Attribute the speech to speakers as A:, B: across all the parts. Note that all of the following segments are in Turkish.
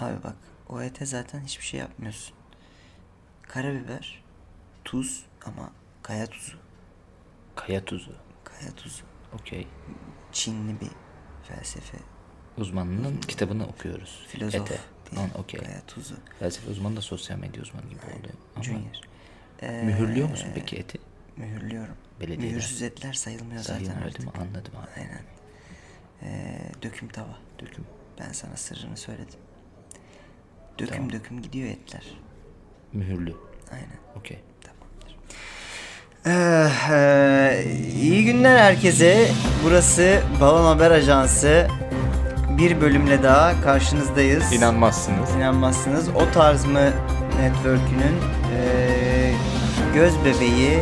A: Abi bak o ete zaten hiçbir şey yapmıyorsun. Karabiber, tuz ama kaya tuzu.
B: Kaya tuzu.
A: Kaya tuzu.
B: Okey.
A: Çinli bir felsefe
B: Uzmanının kitabını okuyoruz.
A: Hmm. filozof
B: Ete.
A: diye
B: Tamam okey.
A: kaya tuzu.
B: Felsefe uzmanı da sosyal medya uzmanı gibi oluyor. Ama
A: Junior. Ee,
B: mühürlüyor musun peki eti?
A: Mühürlüyorum.
B: Belediyeden.
A: Mühürsüz etler sayılmıyor zaten
B: Sayın öyle
A: artık.
B: mi? Anladım abi.
A: Aynen. Ee, döküm tava.
B: Döküm.
A: Ben sana sırrını söyledim. Döküm
B: Tamam.
A: döküm gidiyor etler.
B: Mühürlü.
A: Aynen.
B: Okey.
A: Tamamdır. Ee, e, iyi günler herkese. Burası Balon Haber Ajansı. Bir bölümle daha karşınızdayız.
B: İnanmazsınız.
A: İnanmazsınız. O tarz mı network'ünün ee, göz bebeği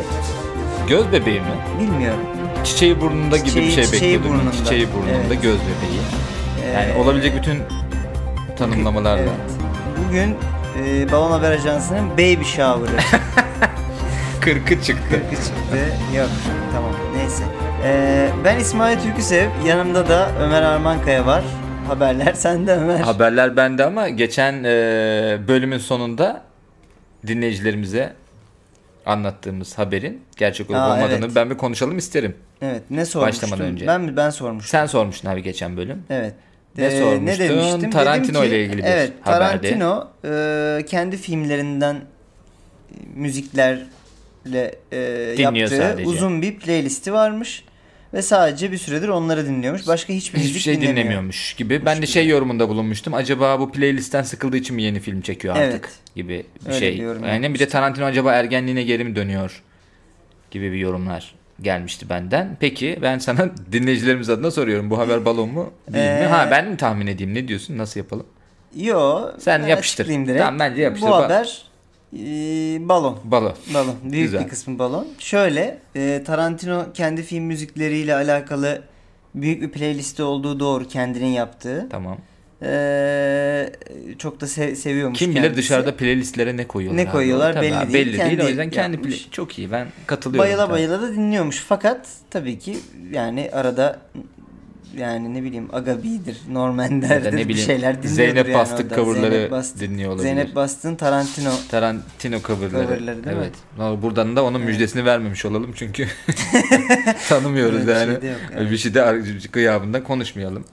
B: Göz bebeği mi?
A: bilmiyorum.
B: Çiçeği burnunda gibi
A: Çiçeği-
B: bir şey
A: çiçeği
B: bekliyordum. ben.
A: burnunda.
B: Çiçeği burnunda
A: Evet.
B: göz bebeği. Yani
A: Ee,
B: olabilecek bütün tanımlamalarla.
A: Evet. Bugün e, Balon Haber Ajansı'nın Baby Shower'ı
B: Kırkı çıktı.
A: çıktı. Yok tamam neyse. Ee, ben İsmail Türküsev, yanımda da Ömer Armankaya var. Haberler sende Ömer.
B: Haberler bende ama geçen e, bölümün sonunda dinleyicilerimize anlattığımız haberin gerçek olup
A: Aa,
B: olmadığını
A: evet.
B: ben bir konuşalım isterim.
A: evet ne sormuştum?
B: Başlamadan önce.
A: Ben mi ben sormuştum.
B: Sen sormuştun abi geçen bölüm.
A: Evet. Ee,
B: Ne sormuştun?
A: demiştim?
B: Tarantino
A: Dedim ki-
B: ile ilgili bir
A: Evet
B: haberdi.
A: Tarantino e, kendi filmlerinden e, müziklerle e, yaptığı
B: sadece.
A: uzun bir playlisti varmış. Ve sadece bir süredir onları dinliyormuş. Başka hiçbir
B: Hiçbir
A: müzik
B: şey
A: dinlemiyor.
B: dinlemiyormuş gibi. Ben de şey yorumunda bulunmuştum. Acaba bu playlistten sıkıldığı için mi yeni film çekiyor artık
A: Evet.
B: gibi bir
A: Öyle bir
B: şey.
A: yorum
B: Aynen bir de Tarantino acaba ergenliğine geri mi dönüyor gibi bir yorumlar gelmişti benden. Peki ben sana dinleyicilerimiz adına soruyorum. Bu haber balon mu değil mi?
A: Ee,
B: Ha ben mi tahmin edeyim? Ne diyorsun? Nasıl yapalım?
A: Yo.
B: Sen
A: ben
B: yapıştır.
A: açıklayayım direkt.
B: Tamam, bence yapıştır.
A: Bu
B: Ba-
A: haber e, balon.
B: Balon.
A: Balon. Büyük
B: Güzel.
A: bir kısmı balon. Şöyle e, Tarantino kendi film müzikleriyle alakalı büyük bir playlisti olduğu doğru kendinin yaptığı.
B: Tamam.
A: E, çok da se- seviyormuş
B: Kim bilir
A: kendisi.
B: dışarıda playlistlere ne koyuyorlar?
A: Ne koyuyorlar
B: abi? Tabii
A: belli
B: abi,
A: değil.
B: Belli değil. O
A: Kendi
B: yüzden kendi
A: yapmış.
B: play- çok iyi. Ben katılıyorum.
A: bayıla
B: Tamam.
A: bayıla da dinliyormuş. Fakat tabii ki yani arada yani ne bileyim Agabi'dir,
B: Ya da
A: Normander'dir
B: ne
A: bir
B: bileyim,
A: şeyler dinliyordur
B: Zeynep
A: yani
B: Bastık
A: orada.
B: coverları
A: Zeynep Bastık-
B: dinliyor olabilir.
A: Zeynep Bastık'ın Tarantino
B: Tarantino coverları.
A: Coverları değil mi?
B: evet. Ama Buradan da onun müjdesini vermemiş olalım çünkü tanımıyoruz
A: Öyle bir şey
B: yani.
A: de yok,
B: Öyle Bir şey de ar- gıyabında konuşmayalım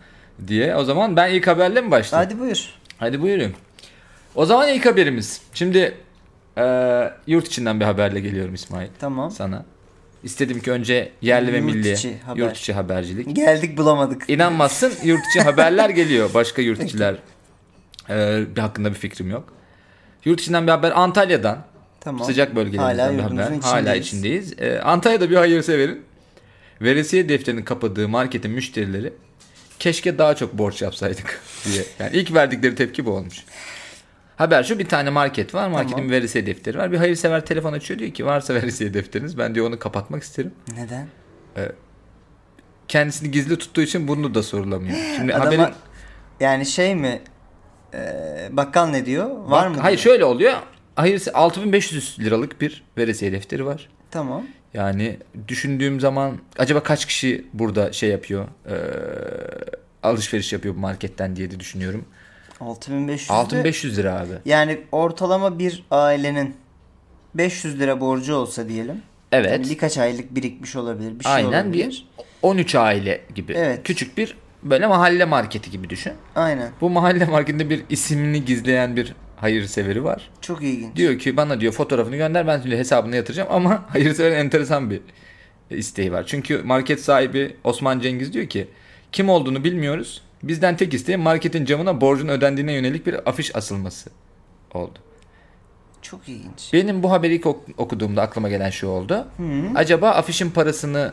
B: diye. O zaman ben ilk haberle mi başlayayım?
A: Hadi buyur.
B: Hadi buyurun. O zaman ilk haberimiz. Şimdi e, yurt içinden bir haberle geliyorum İsmail
A: Tamam.
B: sana. İstedim ki önce yerli ve
A: Yurt
B: milli
A: içi haber.
B: yurt içi habercilik.
A: Geldik bulamadık.
B: İnanmazsın yurt içi haberler geliyor. Başka yurt içiler e, hakkında bir fikrim yok. Yurt içinden bir haber Antalya'dan.
A: Tamam.
B: Sıcak
A: Hala
B: bölgelerimizden bir
A: yurdumuzun
B: haber.
A: içindeyiz.
B: Hala içindeyiz. Ee, Antalya'da bir hayırseverin veresiye defterini kapadığı marketin müşterileri keşke daha çok borç yapsaydık diye. Yani ilk verdikleri tepki bu olmuş. Haber şu bir tane market var. Marketin
A: Tamam.
B: bir veresiye defteri var. Bir hayırsever telefon açıyor diyor ki varsa veresiye defteriniz ben diyor onu kapatmak isterim.
A: Neden?
B: Kendisini gizli tuttuğu için bunu da sorulamıyor. Şimdi
A: Adama-
B: haberin
A: Yani şey mi? Ee, bakkal ne diyor? Var mı?
B: Hayır
A: diyor.
B: şöyle oluyor. Hayır 6500 liralık bir veresiye defteri var.
A: Tamam.
B: Yani düşündüğüm zaman acaba kaç kişi burada şey yapıyor eee, alışveriş yapıyor bu marketten diye de düşünüyorum.
A: 6500. de-
B: 6500 lira abi.
A: Yani ortalama bir ailenin 500 lira borcu olsa diyelim. Yani
B: Evet.
A: birkaç aylık birikmiş olabilir. Bir şey
B: Aynen
A: olabilir.
B: bir 13 aile gibi.
A: Evet.
B: Küçük bir böyle mahalle marketi gibi düşün.
A: Aynen.
B: Bu mahalle marketinde bir isimini gizleyen bir hayırseveri var.
A: Çok ilginç.
B: Diyor ki bana diyor fotoğrafını gönder ben şimdi hesabına yatıracağım ama hayırseverin enteresan bir e, isteği var. Çünkü market sahibi Osman Cengiz diyor ki kim olduğunu bilmiyoruz. Bizden tek isteği marketin camına borcun ödendiğine yönelik bir afiş asılması oldu.
A: Çok ilginç.
B: Benim bu haberi ilk ok- okuduğumda aklıma gelen şu oldu. Acaba afişin parasını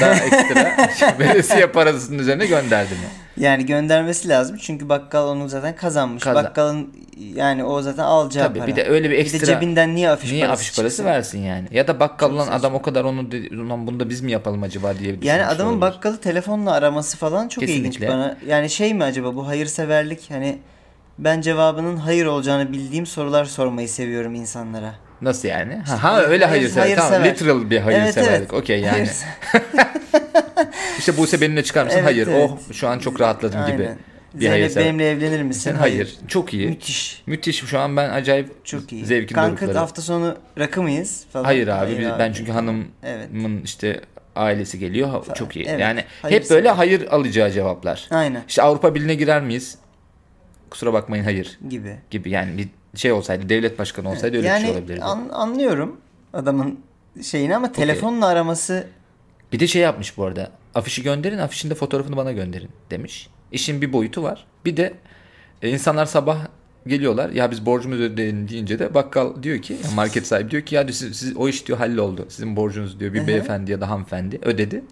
B: da ekstra veresiye parasının üzerine gönderdi mi?
A: Yani göndermesi lazım çünkü bakkal onu zaten kazanmış.
B: Kazan-
A: Bakkalın yani o zaten alacağı
B: Tabii
A: para.
B: bir de öyle bir
A: Bir de
B: ekstra
A: cebinden niye afiş
B: niye
A: parası
B: afiş parası
A: çıksın?
B: versin yani? Ya da bakkal
A: Çok
B: olan
A: saçma.
B: adam o kadar onu dedi, ulan bunu da biz mi yapalım acaba diye
A: Yani
B: düşünmüş
A: adamın
B: olabilir.
A: bakkalı telefonla araması falan çok ilginç
B: şey Kesinlikle.
A: bana. Yani şey mi acaba bu hayırseverlik hani ben cevabının hayır olacağını bildiğim sorular sormayı seviyorum insanlara.
B: Nasıl yani? Ha, ha, öyle
A: hayır-
B: hayırsever. Tamam
A: hayırsever.
B: literal bir hayırseverlik. Okey yani.
A: Hayırse-
B: İşte Buse benimle çıkar mısın?
A: Evet,
B: hayır.
A: evet.
B: Oh şu an çok rahatladım gibi.
A: Aynen.
B: bir hayır
A: Zeynep
B: sen.
A: benimle evlenir misin?
B: Sen hayır. Çok iyi. Müthiş.
A: Müthiş.
B: Şu an ben acayip
A: Çok iyi.
B: zevkli
A: Kanka
B: doruklarım.
A: hafta sonu rakı mıyız? Falan.
B: Hayır abi biz- ben çünkü hanımın
A: Evet.
B: işte ailesi geliyor. Ha- Çok iyi.
A: Evet.
B: Yani
A: Hayır
B: hep böyle hayır alacağı cevaplar.
A: Aynen.
B: İşte Avrupa Birliği'ne girer miyiz? Kusura bakmayın hayır
A: Gibi.
B: gibi yani bir şey olsaydı devlet başkanı olsaydı öyle bir şey
A: Yani
B: olabilirdi.
A: an- anlıyorum adamın şeyini ama telefonla araması
B: Bir de şey yapmış bu arada. Afişi gönderin, afişin de fotoğrafını bana gönderin demiş. İşin bir boyutu var. Bir de e, insanlar sabah geliyorlar. Ya biz borcumuz ödeyelim deyince de bakkal diyor ki, ya market sahibi diyor ki ya diyor, siz, siz- o iş diyor halloldu. Sizin borcunuz diyor bir beyefendi ya da hanımefendi ödedi.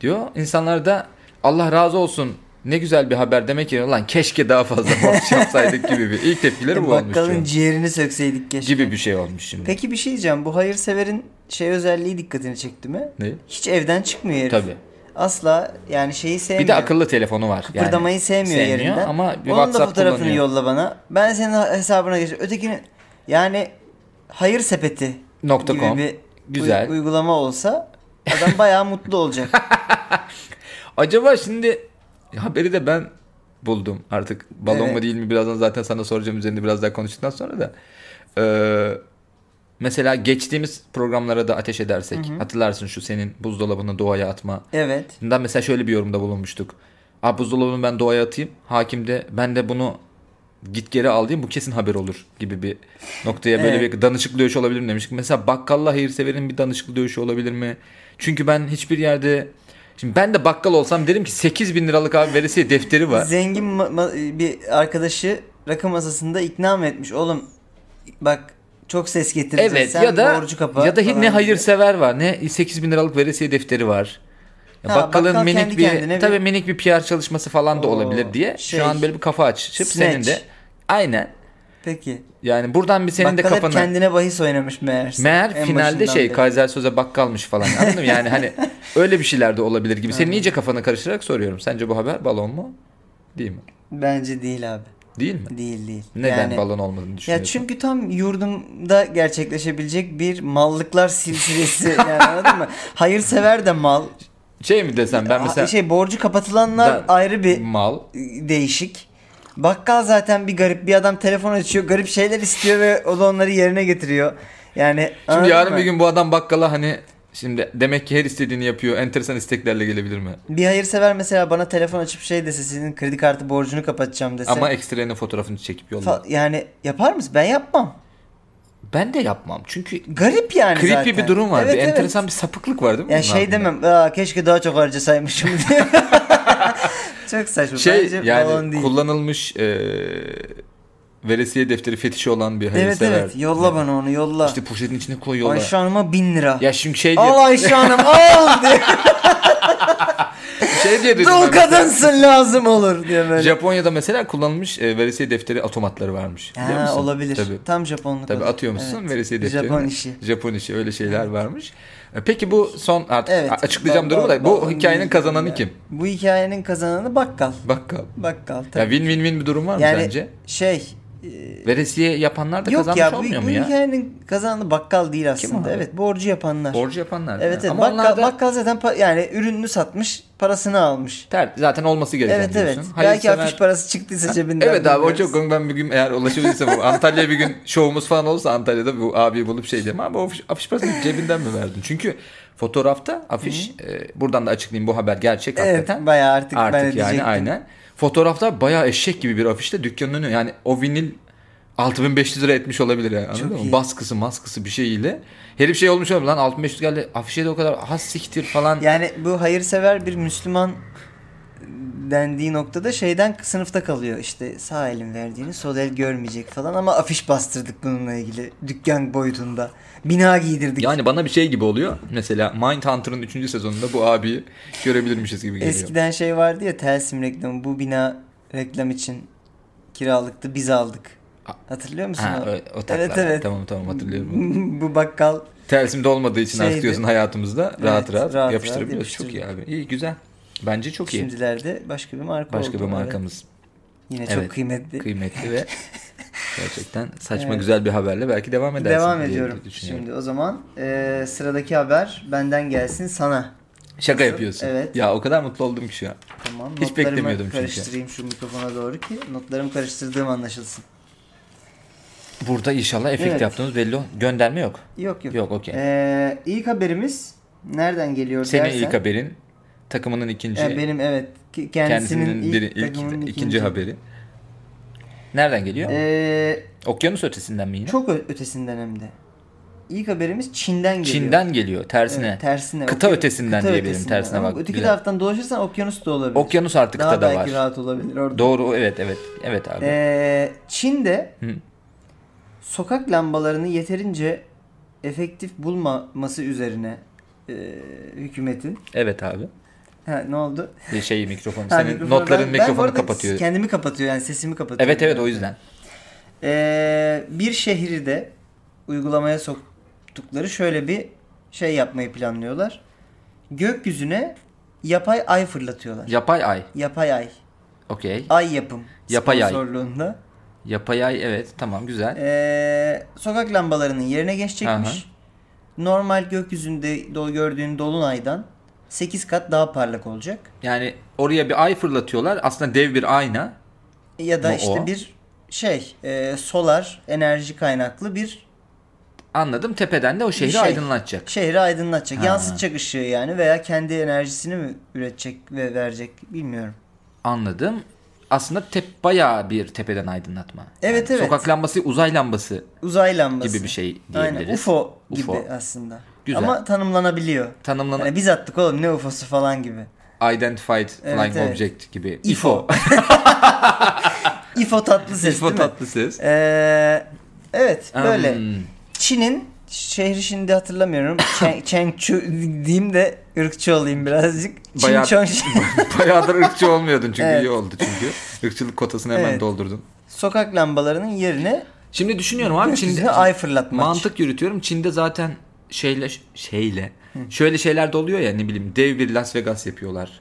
B: Diyor. İnsanlar da Allah razı olsun ne güzel bir haber demek yerine lan keşke daha fazla borç yapsaydık gibi bir ilk tepkileri bu olmuş.
A: E, bakkalın
B: diyor.
A: ciğerini sökseydik keşke.
B: Gibi bir şey olmuş şimdi.
A: Peki bir şey diyeceğim. Bu hayırseverin şey özelliği dikkatini çekti mi?
B: Ne?
A: Hiç evden çıkmıyor herif.
B: Tabii.
A: Asla yani şeyi sevmiyor.
B: Bir de akıllı telefonu var. yani.
A: Kıpırdamayı sevmiyor, yerinden.
B: ama bir
A: Onun da
B: WhatsApp
A: fotoğrafını
B: kullanıyor.
A: yolla bana. Ben senin hesabına geçeceğim. Ötekinin yani hayır sepeti
B: Nokta
A: gibi
B: com.
A: bir
B: Güzel.
A: uy- uygulama olsa adam bayağı mutlu olacak.
B: Acaba şimdi haberi de ben buldum artık. Balon
A: Evet.
B: mu değil mi birazdan zaten sana soracağım üzerinde biraz daha konuştuktan sonra da. Ee, mesela geçtiğimiz programlara da ateş edersek hatırlarsın şu senin buzdolabını doğaya atma.
A: Evet.
B: Bundan mesela şöyle bir yorumda bulunmuştuk. Aa buzdolabını ben doğaya atayım. Hakim de ben de bunu git geri al diyeyim bu kesin haber olur gibi bir noktaya böyle
A: Evet.
B: bir danışıklı dövüş olabilir mi demiştik. Mesela bakkalla hayırseverin bir danışıklı dövüşü olabilir mi? Çünkü ben hiçbir yerde Şimdi ben de bakkal olsam derim ki 8 bin liralık abi veresiye defteri var.
A: Zengin ma- ma- bir arkadaşı rakı masasında ikna mı etmiş? Oğlum bak çok ses getireceksin.
B: Evet
A: Sen
B: ya da
A: borcu kapa
B: ya da hi-
A: falan
B: ne
A: diyor.
B: hayırsever var ne 8 bin liralık veresiye defteri var. Ya
A: Ha,
B: bakkalın
A: bakkal kendi
B: minik bir
A: kendine bir-
B: tabii minik bir PR çalışması falan da
A: Oo,
B: olabilir diye
A: şey,
B: şu an böyle bir kafa açıp senin de
A: snatch.
B: aynen
A: Peki.
B: Yani buradan bir senin de
A: Bakkal hep
B: kafana.
A: kendine bahis oynamış meğerse.
B: Meğer
A: En
B: finalde
A: başından
B: şey
A: beri.
B: Kaiser Söze bakkalmış falan anladın mı? Yani hani öyle bir şeyler de olabilir gibi. Senin iyice kafanı karıştırarak soruyorum. Sence bu haber balon mu? Değil mi?
A: Bence değil abi.
B: Değil mi?
A: Değil değil.
B: Neden
A: Yani-
B: balon olmadığını
A: Ya
B: düşünüyorsun?
A: çünkü tam yurdumda gerçekleşebilecek bir mallıklar silsilesi yani anladın mı? Hayırsever de mal.
B: Şey mi desem ben
A: Ha-
B: mesela
A: şey borcu kapatılanlar
B: Ben-
A: ayrı bir
B: mal.
A: e, değişik. Bakkal zaten bir garip bir adam telefon açıyor garip şeyler istiyor ve o da onları yerine getiriyor. Yani
B: Şimdi
A: anladın
B: yarın
A: mı?
B: bir gün bu adam bakkala hani şimdi demek ki her istediğini yapıyor. Enteresan isteklerle gelebilir mi?
A: bir hayırsever mesela bana telefon açıp şey dese sizin kredi kartı borcunu kapatacağım dese.
B: Ama ekstrenin fotoğrafını çekip yolla.
A: fa- yani yapar mısın? Ben yapmam.
B: ben de yapmam. Çünkü
A: Garip yani
B: creepy
A: zaten.
B: bir durum var.
A: Evet,
B: bir
A: evet.
B: enteresan bir sapıklık var değil mi?
A: Ya
B: bunun
A: şey
B: ardında?
A: demem. Aa, keşke daha çok harcasaymışım diye. çok saçma.
B: şey
A: Bence balon
B: yani
A: değil.
B: kullanılmış e, veresiye defteri fetişi olan bir
A: Evet
B: hayırsever.
A: evet. Yolla bana onu yolla.
B: İşte poşetin içine koy yolla.
A: Ayşe Hanım'a bin lira.
B: Ya şimdi şey diye,
A: al Ayşe Hanım al diye.
B: şey diye dedim ben
A: Dul
B: mesela.
A: kadınsın lazım olur diye böyle.
B: Japonya'da mesela kullanılmış e, veresiye defteri otomatları varmış. biliyor
A: ha,
B: musun?
A: olabilir.
B: Tabii.
A: Tam Japonluk.
B: Tabii
A: olur.
B: atıyor musun
A: Evet.
B: veresiye defteri.
A: Japon işi.
B: Japon işi öyle şeyler varmış. E, Peki bu son artık
A: Evet.
B: açıklayacağım
A: Ba-
B: durumu
A: ba-
B: da
A: balon
B: bu hikayenin
A: değil
B: kazananı
A: ya.
B: kim?
A: Bu hikayenin kazananı bakkal.
B: Bakkal.
A: Bakkal
B: Ya
A: tabii.
B: win win win bir durum var mı
A: yani
B: sence?
A: şey
B: Veresiye yapanlar da
A: yok
B: kazanmış
A: ya bu,
B: olmuyor
A: bu
B: mu ya?
A: hikayenin kazananı bakkal değil aslında.
B: abi?
A: evet borcu yapanlar.
B: Borcu yapanlar.
A: Evet, evet.
B: Ama
A: bakkal,
B: onlar da-
A: bakkal zaten pa- yani ürününü satmış, parasını almış.
B: Ter, zaten olması gereken
A: Evet evet.
B: diyorsun.
A: Belki
B: Hayırsever-
A: afiş parası çıktıysa cebinden.
B: Evet abi o
A: bilmiyoruz.
B: çok ben bir gün eğer ulaşabilirsem bu Antalya'ya bir gün şovumuz falan olsa Antalya'da bu abiyi bulup şey diyeyim abi o afiş, afiş parasını cebinden mi verdin? Çünkü fotoğrafta afiş e, buradan da açıklayayım bu haber gerçek
A: Evet
B: hakikaten.
A: bayağı artık, ben de
B: Artık yani
A: diyecektim.
B: aynen. Fotoğrafta bayağı eşek gibi bir afişte dükkanın önü yani o vinil 6500 lira etmiş olabilir yani. Anladın
A: Çok
B: mı?
A: iyi.
B: Baskısı maskısı bir şeyiyle. Herif şey olmuş olabilir lan 6500 geldi afişe de o kadar has siktir falan.
A: Yani bu hayırsever bir Müslüman dendiği noktada şeyden sınıfta kalıyor. İşte sağ elin verdiğini sol el görmeyecek falan ama afiş bastırdık bununla ilgili. Dükkan boyutunda. Bina giydirdik.
B: Yani bana bir şey gibi oluyor. Mesela Mindhunter'ın 3. sezonunda bu abiyi görebilirmişiz gibi geliyor.
A: Eskiden şey vardı ya Telsim reklamı. Bu bina reklam için kiralıktı biz aldık. Hatırlıyor musun?
B: Ha,
A: o?
B: ö- o takla.
A: Evet evet.
B: Tamam tamam hatırlıyorum.
A: bu bakkal
B: Tersimde olmadığı için artık
A: Şeydi.
B: diyorsun hayatımızda rahat
A: Evet,
B: rahat,
A: rahat
B: yapıştırabiliyoruz.
A: rahat
B: Çok iyi abi. İyi güzel. Bence çok iyi.
A: şimdilerde başka bir marka
B: Başka
A: oldu.
B: bir
A: Evet.
B: markamız
A: Yine
B: Evet.
A: çok kıymetli.
B: kıymetli ve gerçekten saçma güzel bir haberle belki devam edersin
A: Devam
B: diye
A: ediyorum
B: düşünüyorum.
A: şimdi o zaman. Ee, sıradaki haber benden gelsin sana.
B: Şaka yapıyorsun.
A: Evet.
B: Ya o kadar mutlu oldum ki şu an.
A: Tamam.
B: Hiç
A: notlarımı
B: beklemiyordum çünkü.
A: karıştırayım şu mikrofona doğru ki notlarımı karıştırdığım anlaşılsın.
B: Burada inşallah efekt
A: Evet.
B: yaptığımız belli ol. Gönderme yok.
A: Yok yok.
B: Yok, okey.
A: Ee, ilk haberimiz nereden geliyor
B: Senin
A: dersen.
B: ilk haberin. Takımının ikinci.
A: Ee, benim evet. ki- Kendisinin,
B: kendisinin,
A: ilk,
B: biri, ilk,
A: takımının
B: ikinci.
A: ikinci
B: haberi. Nereden geliyor?
A: Ee,
B: Okyanus ötesinden mi yine?
A: çok ö- ötesinden hem de. İlk haberimiz Çin'den geliyor.
B: Çin'den geliyor tersine.
A: Evet, tersine.
B: Kıta
A: Okya-
B: ötesinden diyebilirim, tersine
A: Ama
B: bak,
A: Öteki
B: güzel.
A: taraftan dolaşırsan okyanus da olabilir.
B: Okyanus artık
A: Daha
B: kıtada
A: belki
B: var.
A: rahat olabilir orada.
B: Doğru evet evet. Evet abi.
A: Ee, Çin'de
B: Hı.
A: sokak lambalarını yeterince efektif bulmaması üzerine e, hükümetin
B: evet abi.
A: ha, ne oldu?
B: Bir şey mikrofon.
A: Ha,
B: Senin
A: mikrofonu-
B: notların
A: ben- ben bu
B: mikrofonu
A: arada
B: kapatıyor.
A: Kendimi kapatıyor yani sesimi kapatıyor.
B: Evet evet o yüzden.
A: Ee, bir şehri de uygulamaya soktukları şöyle bir şey yapmayı planlıyorlar. Gökyüzüne yapay ay fırlatıyorlar.
B: Yapay ay.
A: Yapay ay.
B: Okey.
A: Ay yapım.
B: Yapay ay.
A: sponsorluğunda.
B: Yapay ay evet tamam güzel.
A: Ee, sokak lambalarının yerine geçecekmiş.
B: Aha.
A: Normal gökyüzünde do gördüğün dolunaydan 8 kat daha parlak olacak.
B: Yani oraya bir ay fırlatıyorlar. Aslında dev bir ayna.
A: Ya da
B: Bu
A: işte
B: o.
A: bir şey e, solar enerji kaynaklı bir
B: Anladım tepeden de o şehri
A: şey.
B: aydınlatacak.
A: şehri aydınlatacak.
B: Ha.
A: Yansıtacak ışığı yani veya kendi enerjisini mi üretecek ve verecek bilmiyorum.
B: Anladım. Aslında tep bayağı bir tepeden aydınlatma.
A: Evet, evet.
B: Sokak lambası uzay lambası
A: Uzay lambası.
B: gibi bir şey diyebiliriz.
A: Aynen UFO gibi
B: UFO.
A: aslında.
B: Güzel.
A: Ama tanımlanabiliyor.
B: Tanımlanan
A: Yani biz attık oğlum ne UFO'su falan gibi.
B: identified
A: Evet,
B: flying
A: evet.
B: object gibi.
A: İFO.
B: IFO.
A: İFO tatlı ses
B: IFO
A: değil mi?
B: tatlı ses.
A: Ee, evet böyle.
B: Hmm.
A: Çin'in şehri şimdi hatırlamıyorum. Chen- Chengchu diyeyim de ırkçı olayım birazcık. Çin
B: Bayağı-
A: Chongqing-
B: Bayağıdır ırkçı olmuyordun çünkü
A: Evet.
B: iyi oldu çünkü. Irkçılık kotasını hemen
A: Evet.
B: doldurdun.
A: sokak lambalarının yerine
B: Şimdi düşünüyorum abi
A: gökyüzüne
B: Çin'de
A: ay fırlatmak.
B: mantık yürütüyorum. Çin'de zaten şeyle şeyle şöyle şeyler de oluyor ya ne bileyim dev bir Las Vegas yapıyorlar.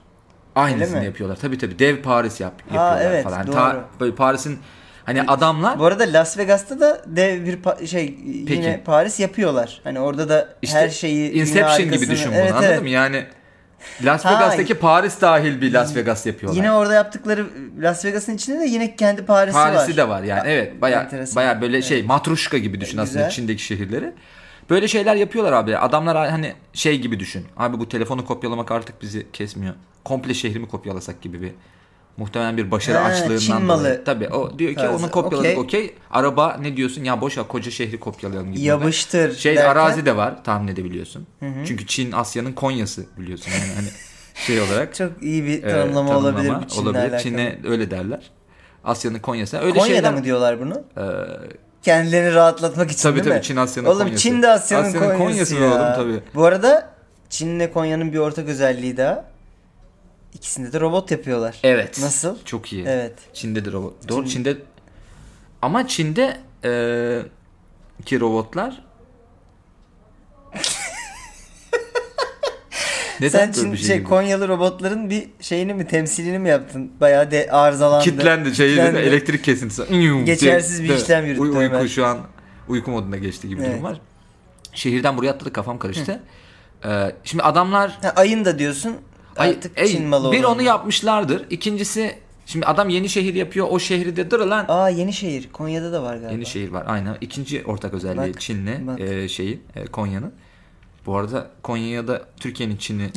B: Aynısını
A: mi?
B: yapıyorlar. Tabii tabii dev Paris yap, yapıyorlar
A: evet,
B: falan.
A: doğru.
B: Ta- böyle Paris'in hani adamlar
A: Bu arada Las Vegas'ta da dev bir pa- şey yine
B: Peki.
A: Paris yapıyorlar. Hani orada da
B: İşte
A: her şeyi dünya
B: Inception gibi
A: arkasını-
B: düşün bunu
A: Evet,
B: anladın
A: evet.
B: mı? Yani Las
A: Ha.
B: Vegas'taki Paris dahil bir Las Vegas yapıyorlar.
A: Yine orada yaptıkları Las Vegas'ın içinde de yine kendi Paris'i,
B: Paris'i
A: var.
B: de var yani evet baya
A: enteresan.
B: baya böyle şey matruşka gibi düşün aslında
A: Güzel.
B: Çin'deki şehirleri. Böyle şeyler yapıyorlar abi. Adamlar hani şey gibi düşün. Abi bu telefonu kopyalamak artık bizi kesmiyor. Komple şehrimi kopyalasak gibi bir muhtemelen bir başarı
A: Ha,
B: açlığından
A: Çin
B: dolayı.
A: malı
B: Tabii o diyor ki
A: tarzı.
B: onu kopyaladık okey.
A: Okey.
B: Araba ne diyorsun? Ya boş ver koca şehri kopyalayalım gibi.
A: Yabıştır
B: Şey
A: derken-
B: arazi de var tahmin edebiliyorsun. Çünkü Çin Asya'nın Konya'sı biliyorsun yani hani şey olarak.
A: Çok iyi bir
B: e,
A: tanımlama, olabilir
B: tanımlama
A: bu Çin'le
B: olabilir.
A: alakalı.
B: Çin'e öyle derler. Asya'nın Konya'sı. Öyle
A: Konya'da
B: şeyler
A: mı diyorlar bunu?
B: ee,
A: Kendilerini rahatlatmak için
B: Tabii
A: değil
B: tabii
A: mi?
B: Çin Asya'nın
A: Oğlum
B: Konya'sı.
A: Çin de Asya'nın,
B: Asya'nın
A: Konya'sı,
B: Konya'sı
A: ya.
B: oğlum tabii.
A: Bu arada Çin'le Konya'nın bir ortak özelliği daha. İkisinde de robot yapıyorlar.
B: Evet.
A: Nasıl?
B: Çok iyi.
A: Evet.
B: Çin'de de robot. Doğru Çin'de ama Çin'de e, ki robotlar Neden
A: Sen
B: böyle
A: Çin
B: bir
A: şey,
B: şey, gibi?
A: Konyalı robotların bir şeyini mi temsilini mi yaptın? Bayağı de arızalandı.
B: kitlendi şey
A: Kitlendi.
B: elektrik kesintisi. Iyum
A: Geçersiz
B: diye-
A: bir işlem
B: Uy-
A: yürüttü hemen.
B: Uyku şu an uyku moduna geçti gibi
A: Evet.
B: durum var. Şehirden buraya atladık kafam karıştı. Ee, şimdi adamlar
A: Ha, ayın da diyorsun.
B: Ay,
A: Artık
B: ey,
A: Çin malı
B: Bir
A: olan.
B: onu yapmışlardır. İkincisi şimdi adam yeni şehir yapıyor. O şehri de dur lan.
A: Aa Yenişehir. Konya'da da var galiba.
B: Yeni şehir var aynen. İkinci ortak özelliği
A: Bak,
B: Çinli
A: bak.
B: e, şeyi e, Konya'nın. Bu arada Konya'ya da Türkiye'nin Çin'i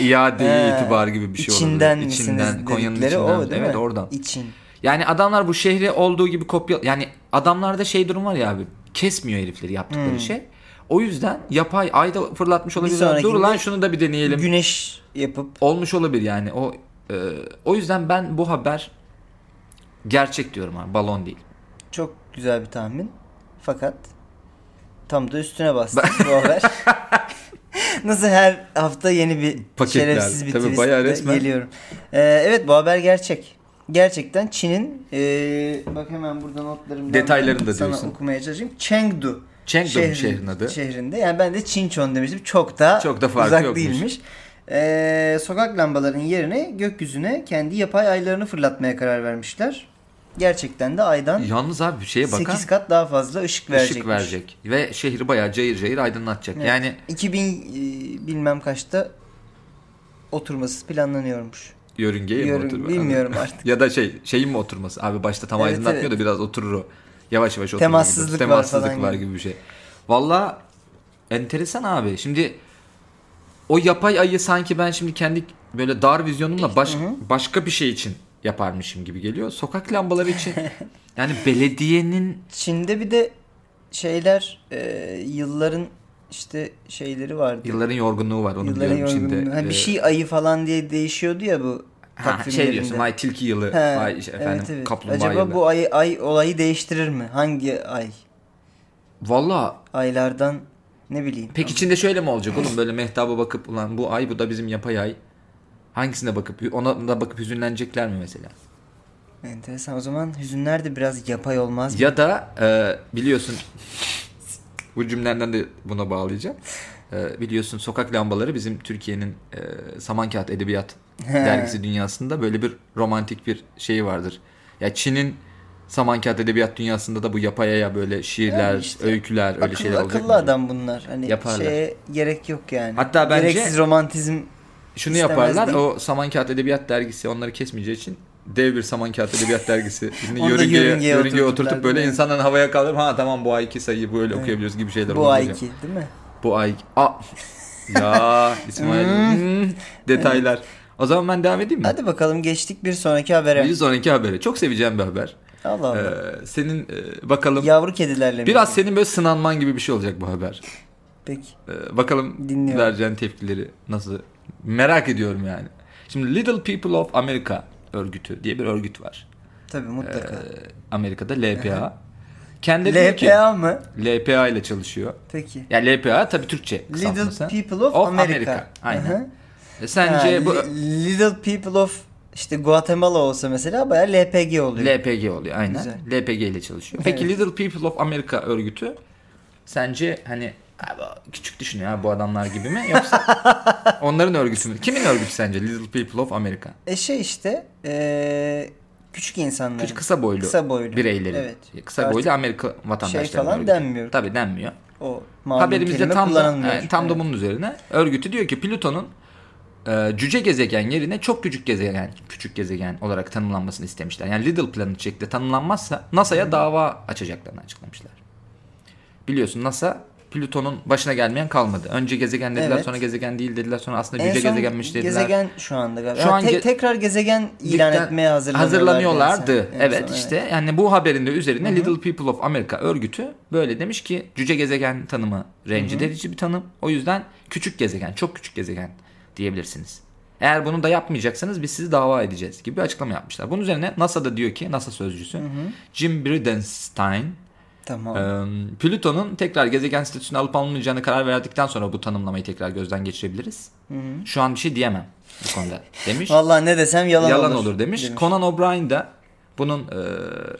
B: iade
A: Ee,
B: itibar gibi bir şey olabilir.
A: İçinden
B: İçinden,
A: misiniz
B: Konya'nın
A: dedikleri
B: içinden.
A: o değil
B: evet
A: mi?
B: oradan.
A: İçin.
B: Yani adamlar bu şehri olduğu gibi kopya... Yani adamlarda şey durum var ya abi. Kesmiyor herifleri yaptıkları
A: Hmm.
B: şey. O yüzden yapay ayda fırlatmış olabilirler. Dur
A: sonrakinde
B: lan şunu da bir deneyelim
A: Güneş yapıp
B: olmuş olabilir yani. O e, o yüzden ben bu haber gerçek diyorum abi. Balon değil.
A: çok güzel bir tahmin. Fakat tam da üstüne bastın bu haber. Nasıl her hafta yeni bir
B: Paketler.
A: şerefsiz bir
B: Tabii
A: twist
B: bayağı
A: de
B: resmen.
A: geliyorum. Ee, evet bu haber gerçek. Gerçekten Çin'in ee, bak hemen burada notlarımdan
B: Detaylarını da
A: sana
B: diyorsun.
A: okumaya çalışayım. Chengdu.
B: Chengdu
A: şehrin- şey-
B: şehrin adı.
A: Şehrinde. Yani ben de Çinçon demiştim. Çok da,
B: Çok da farkı
A: uzak
B: yokmuş.
A: değilmiş. Ee, sokak lambalarının yerine gökyüzüne kendi yapay aylarını fırlatmaya karar vermişler. Gerçekten de aydan
B: Yalnız abi bir şeye bakar
A: 8 kat daha fazla ışık verecekmiş.
B: E, ışık verecek. Ve şehri bayağı cayır cayır aydınlatacak.
A: Evet.
B: Yani
A: 2000 e, bilmem kaçta oturması planlanıyormuş.
B: yörüngeye mi
A: Yörün-
B: E, oturma?
A: bilmiyorum artık.
B: ya da şey şeyin mi oturması? Abi başta tam
A: Evet,
B: aydınlatmıyor
A: evet.
B: da biraz oturur o. Yavaş yavaş oturur.
A: Temassızlık var
B: gibi. Temassızlık
A: falan
B: var
A: gibi.
B: gibi bir şey. Valla enteresan abi. Şimdi o yapay ayı sanki ben şimdi kendi böyle dar vizyonumla baş, başka bir şey için yaparmışım gibi geliyor. Sokak lambaları için yani belediyenin
A: Çin'de bir de şeyler e, yılların işte şeyleri vardı.
B: yılların yorgunluğu var onu
A: Yılların
B: biliyorum şimdi.
A: yorgunluğu. Ha,
B: Ee,
A: bir şey ayı falan diye değişiyordu ya bu
B: ha, şey diyorsun
A: takvimlerinde.
B: ay tilki yılı,
A: He,
B: ay işte efendim
A: evet, evet.
B: kaplumbağa
A: Acaba
B: yılı.
A: bu ay, ay olayı değiştirir mi? Hangi ay?
B: Valla
A: Aylardan ne bileyim.
B: Peki içinde şöyle mi olacak oğlum böyle mehtaba bakıp ulan bu ay bu da bizim yapay ay. Hangisine bakıp ona da bakıp hüzünlenecekler mi mesela?
A: Enteresan. O zaman hüzünler de biraz yapay olmaz mı?
B: Ya da e, biliyorsun bu cümlenden de buna bağlayacağım. E, biliyorsun sokak lambaları bizim Türkiye'nin e, Saman Kağıt Edebiyat dergisi dünyasında böyle bir romantik bir şeyi vardır. Ya Çin'in Saman Kağıt Edebiyat dünyasında da bu yapayaya böyle şiirler,
A: Yani işte
B: öyküler öyle
A: Akıllı,
B: şeyler olacak.
A: akıllı
B: mı?
A: adam bunlar. Hani
B: Yaparlar.
A: şeye gerek yok yani.
B: Hatta bence-
A: Gereksiz romantizm
B: Şunu
A: İstemez
B: yaparlar.
A: değil.
B: O Saman Kağıt Edebiyat Dergisi onları kesmeyeceği için dev bir Saman Kağıt Edebiyat Dergisi birini
A: Onu da
B: yörüngeye,
A: yörüngeye
B: yörüngeye
A: oturturlar,
B: oturtup böyle
A: değil mi?
B: insanların havaya kaldırıp ha tamam bu ayki sayıyı böyle okuyabiliyoruz gibi şeyler
A: bu
B: olabilir.
A: ayki değil mi?
B: Bu ay. A. ya İsmail. Hmm. Detaylar. O zaman ben devam edeyim mi?
A: Hadi bakalım geçtik bir sonraki habere.
B: Bir sonraki habere. Çok seveceğim bir haber.
A: Allah
B: Ee,
A: Allah.
B: senin e, bakalım.
A: Yavru kedilerle mi?
B: Biraz senin böyle sınanman gibi bir şey olacak bu haber.
A: Peki.
B: Ee, bakalım
A: Dinliyorum.
B: vereceğin tepkileri nasıl merak ediyorum yani. Şimdi Little People of America örgütü diye bir örgüt var.
A: Tabii mutlaka.
B: Ee, Amerika'da LPA. Kendileri diyor ki
A: LPA mı?
B: LPA ile çalışıyor.
A: Peki.
B: Ya LPA tabii Türkçe kısaltması.
A: Little People of,
B: Of
A: America.
B: America, aynen.
A: Hı hı.
B: E, Sence
A: Ha,
B: bu
A: li- Little People of işte Guatemala olsa mesela bayağı LPG oluyor.
B: LPG oluyor aynen.
A: Güzel.
B: LPG ile çalışıyor. Peki
A: Evet.
B: Little People of America örgütü sence hani "Abi küçük düşünüyor ha bu adamlar gibi mi yoksa onların örgütü mü? Kimin örgütü sence Little People of America?
A: e şey işte eee, küçük insanların.
B: Küçük kısa boylu,
A: Kısa boylu.
B: bireyleri.
A: Evet.
B: Kısa
A: Artık şey
B: boylu Amerika vatandaşları.
A: falan denmiyor.
B: Tabii denmiyor.
A: O
B: Haberimizde tam da,
A: kullanılmıyor.
B: e, tam da bunun üzerine örgütü diyor ki Plüton'un e, cüce gezegen yerine çok küçük gezegen, küçük gezegen olarak tanımlanmasını istemişler. Yani Little Planet şeklinde tanımlanmazsa NASA'ya dava açacaklarını açıklamışlar. Biliyorsun NASA Plüton'un başına gelmeyen kalmadı. Önce gezegen dediler,
A: Evet.
B: sonra gezegen değil dediler, sonra aslında
A: En
B: cüce
A: son
B: gezegenmiş dediler.
A: Gezegen şu anda galiba.
B: Şu
A: Ha,
B: an
A: te-
B: ge-
A: tekrar gezegen ilan
B: Ligden
A: etmeye hazırlanıyorlardı. en
B: hazırlanıyorlardı.
A: son. En
B: Evet,
A: son,
B: işte yani bu haberin de üzerine Little People of America örgütü böyle demiş ki cüce gezegen tanımı rencide edici bir tanım. O yüzden küçük gezegen, çok küçük gezegen diyebilirsiniz. Eğer bunu da yapmayacaksanız biz sizi dava edeceğiz gibi bir açıklama yapmışlar. Bunun üzerine NASA da diyor ki NASA sözcüsü Jim Bridenstine
A: Tamam.
B: ee, Plüton'un tekrar gezegen statüsünü alıp alınmayacağına karar verdikten sonra bu tanımlamayı tekrar gözden geçirebiliriz. Şu an bir şey diyemem bu konuda demiş.
A: Vallahi ne desem yalan,
B: yalan
A: olur.
B: olur, demiş. Conan O'Brien de bunun e,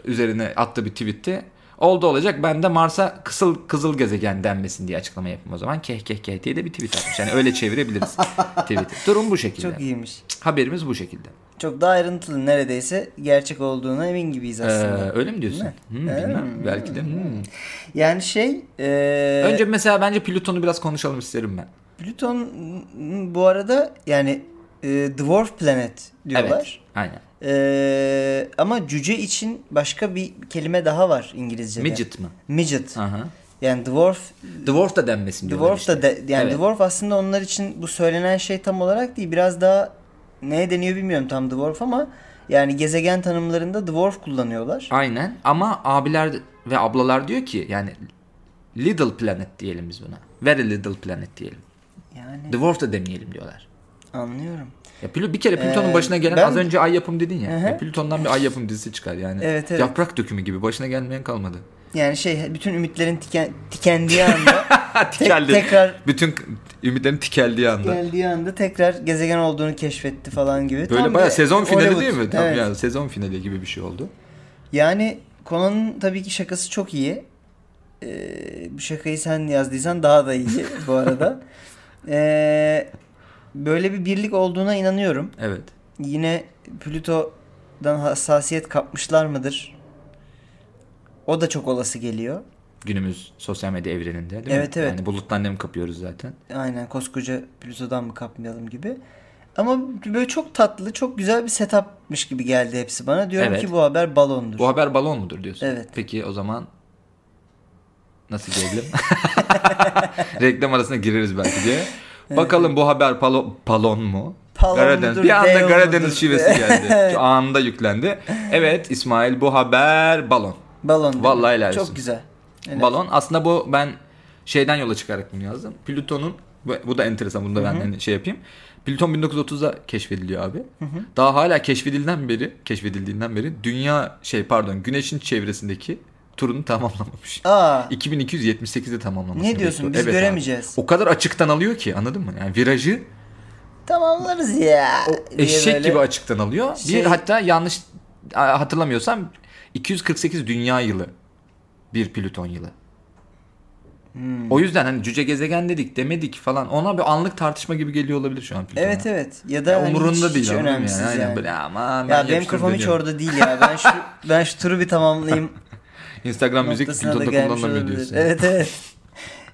B: üzerine attığı bir tweette oldu olacak ben de Mars'a kısıl, kızıl gezegen denmesin diye açıklama yapayım o zaman. Keh keh keh diye de bir tweet atmış. Yani öyle çevirebiliriz tweet'i. Durum bu şekilde.
A: Çok iyiymiş.
B: Haberimiz bu şekilde.
A: Çok daha ayrıntılı neredeyse gerçek olduğuna emin gibiyiz
B: Ee,
A: aslında.
B: öyle mi diyorsun? Hmm, bilmem. Belki de. hmm.
A: yani şey eee
B: Önce mesela bence Plüton'u biraz konuşalım isterim ben.
A: Plüton m, bu arada yani eee, dwarf planet diyorlar.
B: Evet. Aynen.
A: Eee, ama cüce için başka bir kelime daha var İngilizce'de.
B: Midget mı?
A: Midget.
B: Aha.
A: Yani dwarf
B: Dwarf da denmesin diyorlar
A: Dwarf
B: işte.
A: da de- yani
B: Evet.
A: Dwarf aslında onlar için bu söylenen şey tam olarak değil. Biraz daha neye deniyor bilmiyorum tam Dwarf ama yani gezegen tanımlarında Dwarf kullanıyorlar.
B: Aynen ama abiler ve ablalar diyor ki yani Little Planet diyelim biz buna. Very Little Planet diyelim.
A: Yani
B: Dwarf da demeyelim diyorlar.
A: anlıyorum.
B: Ya Plü- bir kere Plüton'un başına gelen
A: Ee, ben-
B: az önce ay yapım dedin ya. ya Plüton'dan bir ay yapım dizisi çıkar yani.
A: Evet, evet.
B: Yaprak dökümü gibi başına gelmeyen kalmadı.
A: Yani şey bütün ümitlerin tiken, tikendiği anda
B: Tikeldi.
A: tekrar-
B: Bütün k- ümitlerin tikeldiği anda.
A: geldiği anda tekrar gezegen olduğunu keşfetti falan gibi.
B: Böyle
A: Tam
B: bayağı
A: bir
B: sezon finali
A: Hollywood.
B: değil mi? Tam
A: Evet.
B: yani sezon finali gibi bir şey oldu.
A: Yani Conan'ın tabii ki şakası çok iyi. Ee, bu şakayı sen yazdıysan daha da iyi bu arada. Ee, böyle bir birlik olduğuna inanıyorum.
B: Evet.
A: yine Plüto dan hassasiyet kapmışlar mıdır? O da çok olası geliyor.
B: Günümüz sosyal medya evreninde değil
A: Evet,
B: mi?
A: evet.
B: Yani buluttan nem kapıyoruz zaten.
A: Aynen koskoca Pluto'dan mı kapmayalım gibi. Ama böyle çok tatlı, çok güzel bir setupmış gibi geldi hepsi bana. Diyorum
B: Evet.
A: ki bu haber balondur.
B: Bu haber balon mudur diyorsun?
A: Evet.
B: Peki o zaman nasıl gelelim? Reklam arasına gireriz belki diye. Bakalım bu haber palo- palon mu?
A: Palon
B: Karadeniz.
A: mudur,
B: Bir anda
A: deyon
B: Karadeniz
A: mudur?
B: şivesi geldi. Şu anında yüklendi. Evet İsmail bu haber balon.
A: Balondur.
B: Vallahi helal olsun.
A: Çok güzel. Evet.
B: Balon. Aslında bu ben şeyden yola çıkarak bunu yazdım. Plüton'un bu- bu da enteresan. Bunu da ben hani şey yapayım. Plüton 1930'da keşfediliyor abi. Daha hala keşfedilden beri, keşfedildiğinden beri dünya şey pardon Güneş'in çevresindeki turunu tamamlamamış.
A: Aa,
B: 2278'de tamamlamış.
A: Ne diyorsun? Biz göremeyeceğiz.
B: O kadar açıktan alıyor ki anladın mı? Yani virajı
A: tamamlarız ya. diye
B: eşek
A: böyle.
B: gibi açıktan alıyor.
A: Şey-
B: Bir hatta yanlış a- hatırlamıyorsam 248 dünya yılı bir Plüton yılı.
A: Hmm.
B: O yüzden hani cüce gezegen dedik demedik falan ona bir anlık tartışma gibi geliyor olabilir şu an Plüton'a.
A: Evet evet. Ya da hani
B: Umurunda
A: hiç,
B: değil
A: hiç
B: anladın mı
A: önemsiz
B: yani.
A: yani.
B: Aynen böyle aman ben
A: Ya benim
B: yapıştırdım
A: kafam hiç
B: diyorum.
A: orada değil ya. Ben şu ben şu turu bir tamamlayayım.
B: Instagram müzik
A: noktasına da
B: Plüton'da
A: gelmiş
B: kullanılamıyor
A: olabilir.
B: diyorsun.
A: Evet evet.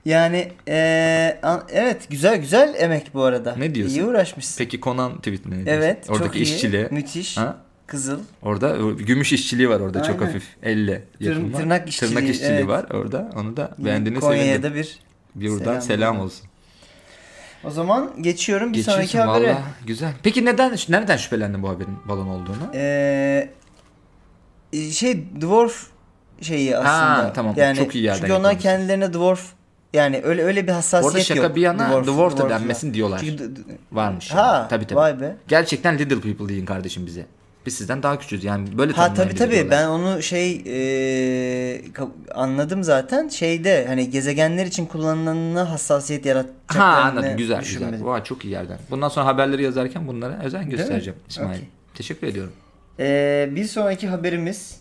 A: Yani eee, an- evet güzel güzel emek bu arada.
B: Ne diyorsun?
A: İyi uğraşmışsın.
B: Peki Conan tweetine ne diyorsun?
A: evet
B: Oradaki
A: çok iyi.
B: işçiliği.
A: Müthiş.
B: Ha?
A: Kızıl.
B: Orada o gümüş işçiliği var orada çok
A: Aynen.
B: hafif. Elle yapılma.
A: tırnak işçiliği,
B: Tırnak işçiliği
A: evet.
B: var orada. Onu da beğendiğine
A: Konya'ya
B: sevindim.
A: da bir.
B: Bir buradan
A: selam
B: selam,
A: olsun.
B: olsun.
A: O zaman geçiyorum bir
B: Geçiyorsun
A: sonraki habere.
B: valla. Güzel. Peki neden nereden şüphelendin bu haberin balon olduğunu?
A: Eee, şey dwarf şeyi aslında.
B: Ha, tamam.
A: Yani,
B: Çok iyi yerden
A: Çünkü onlar
B: yakalamışsın.
A: kendilerine dwarf yani öyle öyle bir hassasiyet
B: Bu
A: yok.
B: arada şaka bir yana dwarf, da
A: dwarf'la.
B: denmesin diyorlar.
A: Çünkü d- d-
B: Varmış.
A: Ha,
B: yani. Tabii tabii.
A: vay be.
B: Gerçekten little people deyin kardeşim bize. Biz sizden daha küçüğüz yani böyle
A: Ha tabii
B: tanımlayın bizi
A: tabii
B: diyorlar.
A: ben onu şey e, ka- anladım zaten şeyde hani gezegenler için kullanılanına hassasiyet yaratacaklarını
B: Ha anladım güzel güzel.
A: düşünmedim.
B: Vay çok iyi yerden. Bundan sonra haberleri yazarken bunlara özen
A: mi?
B: göstereceğim İsmail.
A: Okey.
B: Teşekkür ediyorum.
A: E, bir sonraki haberimiz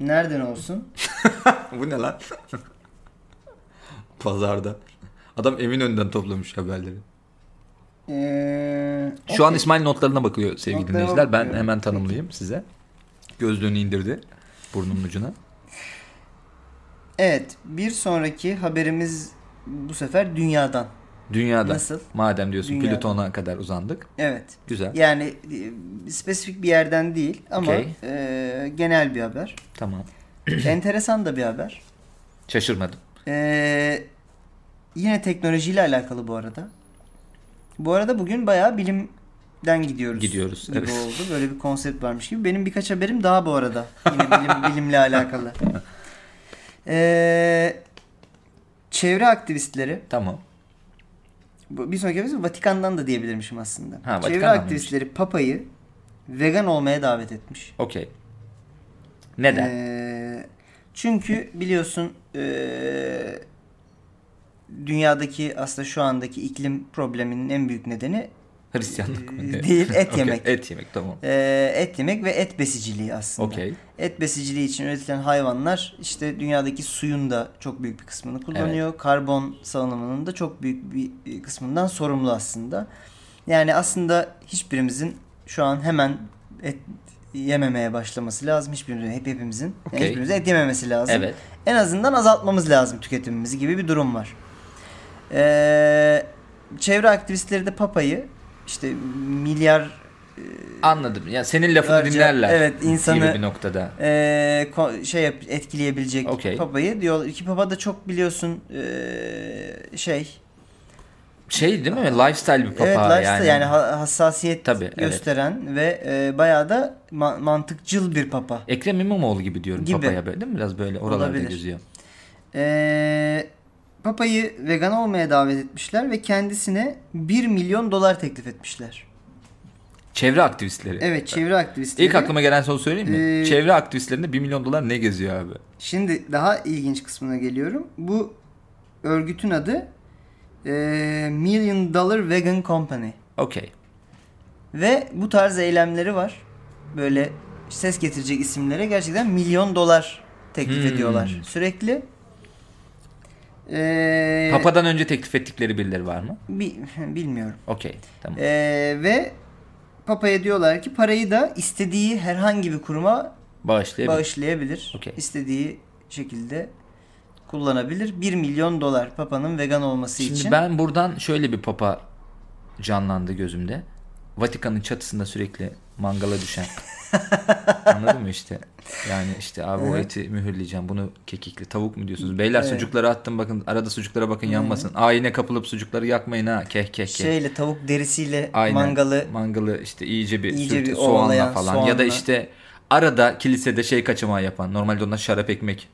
A: nereden olsun?
B: bu ne lan? Pazarda. Adam evin önünden toplamış haberleri.
A: E,
B: Şu an İsmail notlarına bakıyor sevgili
A: Notlarına
B: dinleyiciler. Ben
A: bakıyorum.
B: hemen tanımlayayım size. Gözlüğünü indirdi burnumun ucuna.
A: Evet bir sonraki haberimiz bu sefer dünyadan.
B: Dünyada.
A: Nasıl?
B: Madem diyorsun
A: Dünyada.
B: Plüton'a kadar uzandık.
A: Evet.
B: Güzel.
A: Yani e, spesifik bir yerden değil ama
B: Okey.
A: e, genel bir haber.
B: Tamam.
A: Enteresan da bir haber.
B: Şaşırmadım.
A: Ee, yine teknolojiyle alakalı bu arada. Bu arada bugün bayağı bilimden gidiyoruz.
B: Gidiyoruz,
A: Gibi
B: evet.
A: oldu. Böyle bir konsept varmış gibi. Benim birkaç haberim daha bu arada. Yine bilim, bilimle alakalı. Ee, çevre aktivistleri
B: Tamam.
A: bu- bir sonraki haberimiz Vatikan'dan da diyebilirmişim aslında.
B: Vatikan'dan
A: çevre
B: mıymış?
A: aktivistleri papayı vegan olmaya davet etmiş.
B: Okey. Neden?
A: Ee, çünkü biliyorsun ee, dünyadaki aslında şu andaki iklim probleminin en büyük nedeni
B: Hristiyanlık mı?
A: e, değil, et
B: Okey,
A: yemek.
B: Et yemek tamam.
A: ee, et yemek ve et besiciliği aslında.
B: Okey.
A: Et besiciliği için üretilen hayvanlar işte dünyadaki suyun da çok büyük bir kısmını kullanıyor. Karbon salınımının da çok büyük bir e, kısmından sorumlu aslında. Yani aslında hiçbirimizin şu an hemen et yememeye başlaması lazım. Hiçbirimizin, hep hepimizin. yani
B: Okey.
A: hiçbirimizin et yememesi lazım.
B: Evet.
A: En azından azaltmamız lazım tüketimimizi gibi bir durum var. Ee, çevre aktivistleri de papayı işte milyar
B: Anladım. Ya senin lafını
A: Ayrıca-
B: dinlerler.
A: evet, insanı-
B: gibi bir noktada.
A: Eee, ko- şey yap, etkileyebilecek
B: Okey.
A: papayı diyor ki papa da çok biliyorsun eee, şey
B: Şey değil mi? Lifestyle bir papa
A: evet lifestyle yani,
B: yani.
A: ha- hassasiyet
B: Tabii, evet.
A: gösteren ve eee, bayağı da ma- mantıkçıl bir papa.
B: Ekrem İmamoğlu gibi diyorum
A: Gibi.
B: papaya böyle değil mi? Biraz böyle oralarda
A: Olabilir.
B: geziyor.
A: Eee, Ee, papayı vegan olmaya davet etmişler ve kendisine 1 milyon dolar teklif etmişler.
B: Çevre aktivistleri.
A: Evet çevre aktivistleri.
B: İlk aklıma gelen soru söyleyeyim mi?
A: Ee,
B: Çevre aktivistlerinde 1 milyon dolar ne geziyor abi?
A: Şimdi daha ilginç kısmına geliyorum. Bu örgütün adı eee, Million Dollar Vegan Company.
B: Okey.
A: Ve bu tarz eylemleri var. Böyle ses getirecek isimlere gerçekten milyon dolar teklif
B: Hmm.
A: ediyorlar sürekli. Ee,
B: Papa'dan önce teklif ettikleri birileri var mı?
A: bi- bilmiyorum.
B: Okey. Tamam.
A: Ee, ve Papa'ya diyorlar ki parayı da istediği herhangi bir kuruma
B: Bağışlayabilir.
A: bağışlayabilir.
B: Okey.
A: İstediği şekilde kullanabilir. 1 milyon dolar Papa'nın vegan olması
B: Şimdi
A: için.
B: ben buradan şöyle bir papa canlandı gözümde. Vatikan'ın çatısında sürekli mangala düşen. Anladın mı işte? Yani işte abi o
A: Evet.
B: eti mühürleyeceğim. Bunu kekikli tavuk mu diyorsunuz? Beyler
A: Evet.
B: sucukları attım bakın. Arada sucuklara bakın yanmasın. Ayine kapılıp sucukları yakmayın ha. Keh keh keh.
A: Şeyle tavuk derisiyle
B: Aynen.
A: mangalı
B: mangalı işte iyice bir
A: İyice
B: sürt-
A: bir
B: soğanla
A: ovalayan,
B: falan
A: soğanla.
B: ya da işte arada kilisede şey kaçamağı yapan normalde onlar şarap ekmek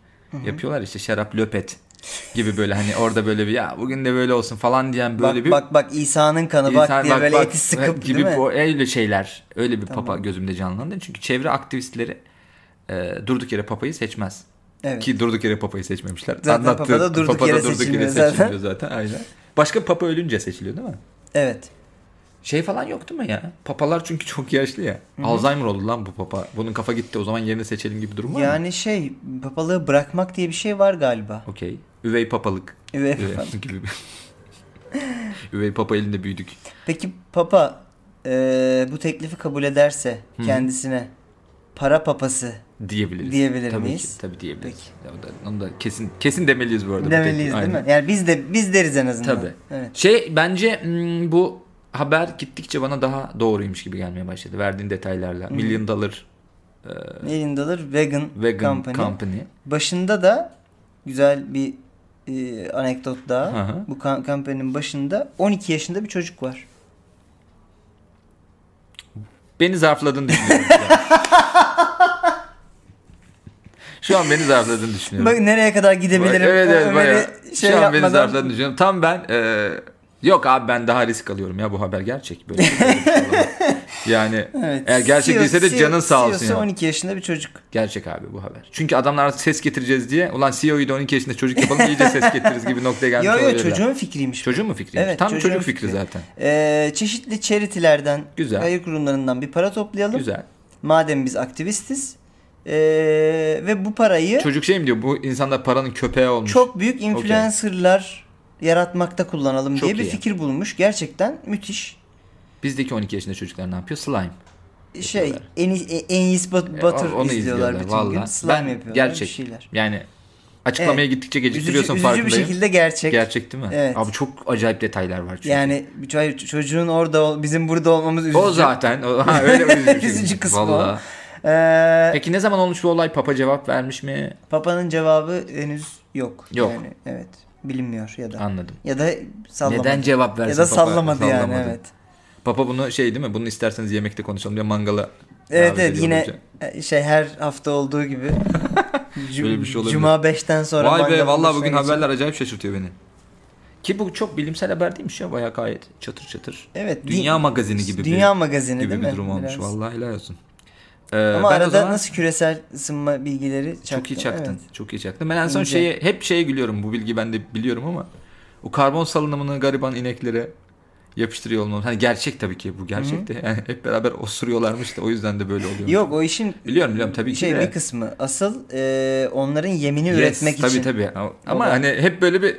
B: yapıyorlar işte şarap löpet gibi böyle hani orada böyle bir ya bugün de böyle olsun falan diyen böyle
A: bak
B: bir
A: bak bak İsa'nın kanı bak
B: insan-
A: diye böyle
B: bak
A: eti sıkıp
B: gibi
A: değil mi?
B: bu- öyle şeyler öyle bir papa gözümde canlandı çünkü çevre aktivistleri e, durduk yere papayı seçmez.
A: Evet.
B: Ki durduk yere papayı seçmemişler.
A: Zaten papa da durduk
B: papa da
A: yere
B: durduk
A: seçilmiyor zaten.
B: seçilmiyor zaten. Aynen. Başka papa ölünce seçiliyor değil mi?
A: Evet.
B: Şey falan yoktu mu ya? Papalar çünkü çok yaşlı ya. Alzheimer oldu lan bu papa. Bunun kafa gitti o zaman yerine seçelim gibi durum var mı?
A: Yani şey papalığı bırakmak diye bir şey var galiba.
B: Okey. Üvey papalık.
A: Evet.
B: Üvey gibi. bir- Üvey papa elinde büyüdük.
A: Peki papa e, bu teklifi kabul ederse kendisine para papası
B: Diyebiliriz.
A: Diyebilir
B: tabii
A: miyiz?
B: Ki, tabii diyebiliriz. Ya o da- Onu da kesin kesin demeliyiz bu arada. bu
A: demeliyiz
B: teklif.
A: değil
B: Aynen.
A: mi? Yani biz de biz deriz en azından.
B: Tabii.
A: Evet.
B: Şey bence hmm, bu haber gittikçe bana daha doğruymuş gibi gelmeye başladı. Verdiğin detaylarla. Million Dollar
A: Million Dollar Vegan,
B: Vegan
A: Company.
B: Company.
A: Başında da güzel bir e, anekdot daha.
B: Hı hı.
A: Bu kam- kampanyanın başında 12 yaşında bir çocuk var.
B: Beni zarfladığını düşünüyorum. Şu an beni zarfladığını düşünüyorum.
A: Bak nereye kadar
B: Bak,
A: gidebilirim?
B: evet evet
A: Ömer'i
B: bayağı.
A: şey
B: Şu an beni
A: yapmadan-
B: zarfladığını düşünüyorum. Tam ben e, yok abi ben daha risk alıyorum ya bu haber gerçek böyle. bir şey olamaz. yani
A: Evet. E
B: eğer gerçek
A: CEO
B: değilse de
A: CEO
B: canın sağ olsun.
A: CEO'su
B: ya.
A: 12 yaşında bir çocuk.
B: Gerçek abi bu haber. Çünkü adamlar artık ses getireceğiz diye ulan CEO'yu da 12 yaşında çocuk yapalım iyice ses getiririz gibi noktaya gelmiş
A: Yo yo
B: olabilirler.
A: çocuğun fikriymiş. bu.
B: Çocuğun mu fikri?
A: Evet,
B: Tam
A: çocuğun
B: çocuk fikri,
A: fikri.
B: zaten.
A: Ee, çeşitli charity'lerden,
B: Güzel.
A: hayır kurumlarından bir para toplayalım.
B: Güzel.
A: Madem biz aktivistiz. Ee, ve bu parayı
B: Çocuk şey mi diyor bu insanlar paranın köpeği olmuş.
A: çok büyük influencerlar yaratmakta kullanalım
B: Çok
A: diye bir
B: iyi.
A: fikir bulmuş. Gerçekten müthiş.
B: Bizdeki 12 yaşında çocuklar ne yapıyor? Slime.
A: Şey,
B: Yapıyorlar.
A: Enis, e- Enis Bat-
B: E,
A: Batır
B: o- onu
A: izliyorlar, bütün gün.
B: vallahi.
A: Slime
B: Ben
A: yapıyorlar
B: gerçek.
A: bir şeyler.
B: Yani açıklamaya gittikçe
A: Üzücü,
B: geciktiriyorsun
A: üzücü bir
B: farkındayım.
A: şekilde gerçek.
B: Gerçek değil mi?
A: Evet.
B: Abi çok acayip detaylar var çünkü.
A: Yani bir ço- çocuğun orada ol- bizim burada olmamız üzücü.
B: o zaten. O, ha, öyle üzücü. şey.
A: Üzücü kısmı o.
B: Vallahi.
A: Ee,
B: Peki ne zaman olmuş bu olay? Papa cevap vermiş mi?
A: Papa'nın cevabı henüz yok.
B: Yok.
A: Yani, evet. Bilinmiyor ya da.
B: Anladım.
A: Ya da sallamadı.
B: Neden cevap versin
A: Ya da
B: papa?
A: sallamadı, yani
B: Sallamadı.
A: evet.
B: Papa bunu şey değil mi? Bunu isterseniz yemekte konuşalım diye mangala
A: Evet
B: davet
A: evet
B: ediyor
A: yine
B: olunca.
A: e, şey her hafta olduğu gibi. Cu-
B: Böyle bir şey olabilir.
A: Cuma 5'ten sonra.
B: Vay be
A: mangalın
B: vallahi
A: başına
B: bugün
A: geçelim.
B: haberler acayip şaşırtıyor beni. Ki bu çok bilimsel haber değilmiş ya bayağı gayet çatır çatır.
A: Evet.
B: Dünya
A: di-
B: magazini gibi
A: Dünya
B: bir,
A: magazini
B: gibi
A: değil mi?
B: bir durum olmuş
A: Biraz.
B: vallahi helal olsun. Ee,
A: Ama
B: ben o
A: arada
B: zaman-
A: nasıl küresel ısınma bilgileri çaktın.
B: Çok iyi çaktın.
A: evet.
B: Çok iyi çaktın. Ben en son
A: İnce.
B: şeye hep şeye gülüyorum. Bu bilgi ben de biliyorum ama o karbon salınımını gariban ineklere yapıştırıyor olmam. Hani gerçek tabii ki bu gerçek de. Yani hep beraber osuruyorlarmış da o yüzden de böyle oluyor.
A: Yok o işin
B: Biliyorum biliyorum tabii
A: şey
B: ki de.
A: bir kısmı. Asıl e, onların yemini
B: Yes,
A: üretmek
B: tabii,
A: için.
B: Tabii tabii. Ama
A: O da-
B: hani hep böyle bir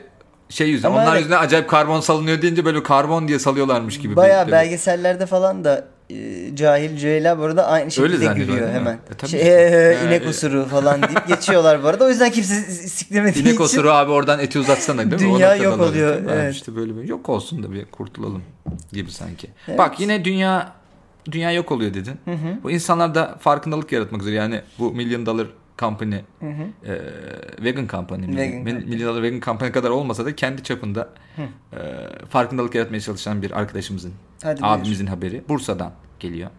B: şey yüzünden.
A: Ama
B: Onlar
A: evet.
B: yüzünden acayip karbon salınıyor deyince böyle karbon diye salıyorlarmış gibi.
A: Bayağı
B: bir-
A: belgesellerde falan da e, cahil cüela bu arada aynı şekilde
B: zannediyorlar
A: gülüyor
B: değil mi?
A: hemen.
B: E, tabii
A: şey,
B: işte.
A: "Ee,
B: Ha,
A: inek
B: e."
A: osuru falan deyip geçiyorlar bu arada. O yüzden kimse s- siklemediği
B: İnek
A: için.
B: osuru abi oradan eti uzatsana değil mi? O
A: Dünya
B: noktadan
A: yok oluyor,
B: alıyor. Ha,
A: evet.
B: İşte böyle bir yok olsun da bir kurtulalım gibi sanki.
A: Evet.
B: Bak yine dünya dünya yok oluyor dedin. Bu insanlar da farkındalık yaratmak üzere yani bu Million Dollar Company e, vegan company, miydi?
A: Vegan
B: Mil-
A: company.
B: Million Dollar vegan company kadar olmasa da kendi çapında e, farkındalık yaratmaya çalışan bir arkadaşımızın
A: Hadi buyur.
B: abimizin haberi Bursa'dan geliyor.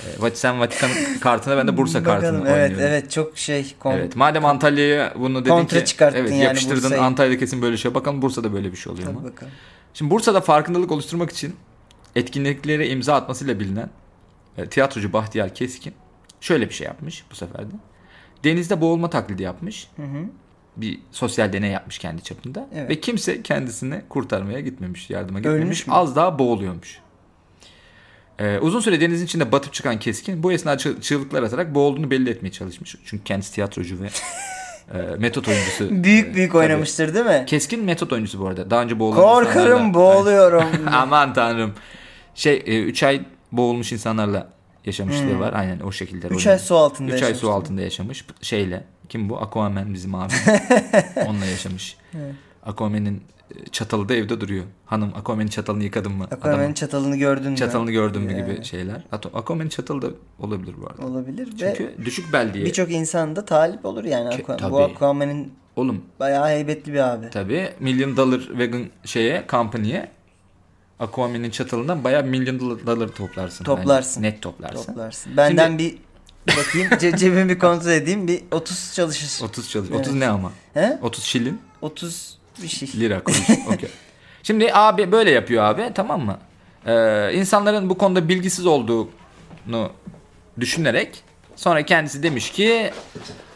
B: E, Vat- sen Vatikan kartına ben de Bursa kartını
A: Bakalım evet
B: oynuyorum.
A: evet çok şey kon-
B: Evet madem Antalya'ya bunu dedin
A: Kontra
B: ki
A: çıkarttın
B: evet,
A: yani
B: yapıştırdın
A: Bursa'yı.
B: Antalya'da kesin böyle bir şey yok. bakalım Bursa'da böyle bir şey oluyor
A: Tabii
B: mu?
A: bakalım.
B: Şimdi Bursa'da farkındalık oluşturmak için etkinliklere imza atmasıyla bilinen e, tiyatrocu Bahtiyar Keskin şöyle bir şey yapmış bu sefer de. Denizde boğulma taklidi yapmış. Bir sosyal deney yapmış kendi çapında.
A: Evet.
B: Ve kimse kendisini kurtarmaya gitmemiş, yardıma gitmemiş.
A: Ölmüş mü?
B: Az daha boğuluyormuş. E, uzun süre denizin içinde batıp çıkan Keskin bu esnada çığ- çığlıklar atarak boğulduğunu belli etmeye çalışmış. Çünkü kendisi tiyatrocu ve e, metot oyuncusu.
A: Büyük
B: E,
A: büyük
B: tabii.
A: oynamıştır değil mi?
B: Keskin metot oyuncusu bu arada. Daha önce boğulan insanlarla-
A: Korkarım boğuluyorum.
B: Aman tanrım. Şey 3 ay boğulmuş insanlarla yaşamışlığı var. Aynen o şekilde.
A: 3 Hmm. ay su altında
B: 3 ay su
A: yaşamıştım.
B: altında yaşamış. Şeyle. Kim bu? Aquaman bizim abi. Onunla yaşamış. Aquaman'in e, çatalı da evde duruyor. Hanım Aquaman'in çatalını yıkadın mı?
A: Aquaman'ın
B: Adamın
A: çatalını gördün mü?
B: çatalını gördün mü gibi
A: Yani.
B: şeyler. Hatta Aquaman'in çatalı da olabilir bu arada.
A: Olabilir ve
B: Çünkü düşük bel diye.
A: birçok insan da talip olur yani.
B: Ki-
A: Aquaman.
B: tabii.
A: Bu Aquaman'ın
B: Oğlum
A: bayağı heybetli bir abi.
B: Tabii Million Dollar Vegan şeye, company'ye Aquaman'in çatalından bayağı milyon dola- dollar toplarsın. bence.
A: Toplarsın.
B: Net toplarsın.
A: Toplarsın. Benden bir bakayım ce- cebimi kontrol edeyim bir 30 çalışır.
B: 30 çalış.
A: Evet.
B: 30 ne ama?
A: He?
B: 30 şilin
A: 30 bir şey.
B: lira konuş. Okey. Şimdi abi böyle yapıyor abi tamam mı? Ee, insanların bu konuda bilgisiz olduğunu düşünerek sonra kendisi demiş ki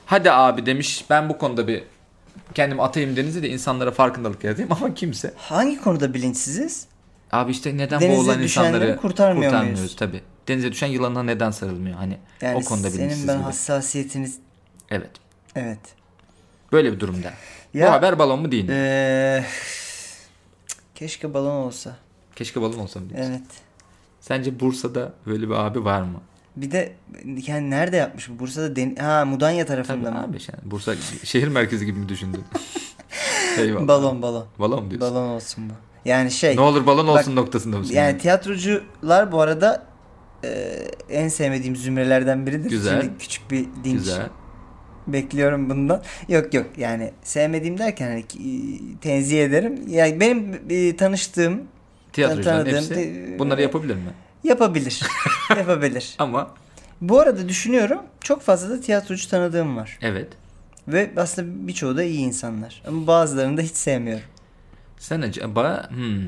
B: hadi abi demiş ben bu konuda bir kendim atayım denize de insanlara farkındalık yaratayım ama kimse
A: Hangi konuda bilinçsiziz?
B: Abi işte neden
A: Denize
B: boğulan
A: düşenleri
B: insanları
A: kurtarmıyor
B: kurtarmıyoruz
A: muyuz?
B: tabii. Denize düşen yılanına neden sarılmıyor hani
A: Yani
B: o konuda
A: senin
B: bilinçsiz
A: ben
B: gibi.
A: hassasiyetiniz
B: Evet.
A: evet.
B: Böyle bir durumda.
A: Ya-
B: Bu haber balon mu değil mi?
A: Ee, keşke balon olsa.
B: Keşke balon olsa mı diyorsun?
A: Evet.
B: Sence Bursa'da böyle bir abi var mı?
A: Bir de yani nerede yapmış bu? Bursa'da den ha Mudanya tarafında mı?
B: Abi yani Bursa şehir merkezi gibi mi düşündün? Eyvallah.
A: Balon balon.
B: Balon mu diyorsun?
A: Balon olsun bu. Yani şey
B: Ne olur balon olsun noktasında mısın?
A: yani tiyatrocular bu arada e, en sevmediğim zümrelerden biridir.
B: Güzel.
A: Şimdi küçük bir dinç
B: Güzel.
A: bekliyorum bundan. Yok yok yani sevmediğim derken hani e, tenzih ederim. Yani benim e, tanıştığım
B: Tiyatrocuların
A: tanıdığım
B: hepsi
A: de-
B: bunları yapabilir mi?
A: yapabilir. yapabilir.
B: Ama
A: Bu arada düşünüyorum çok fazla da tiyatrocu tanıdığım var.
B: evet.
A: Ve aslında birçoğu da iyi insanlar. Ama bazılarını da hiç sevmiyorum.
B: Sen acaba hmm.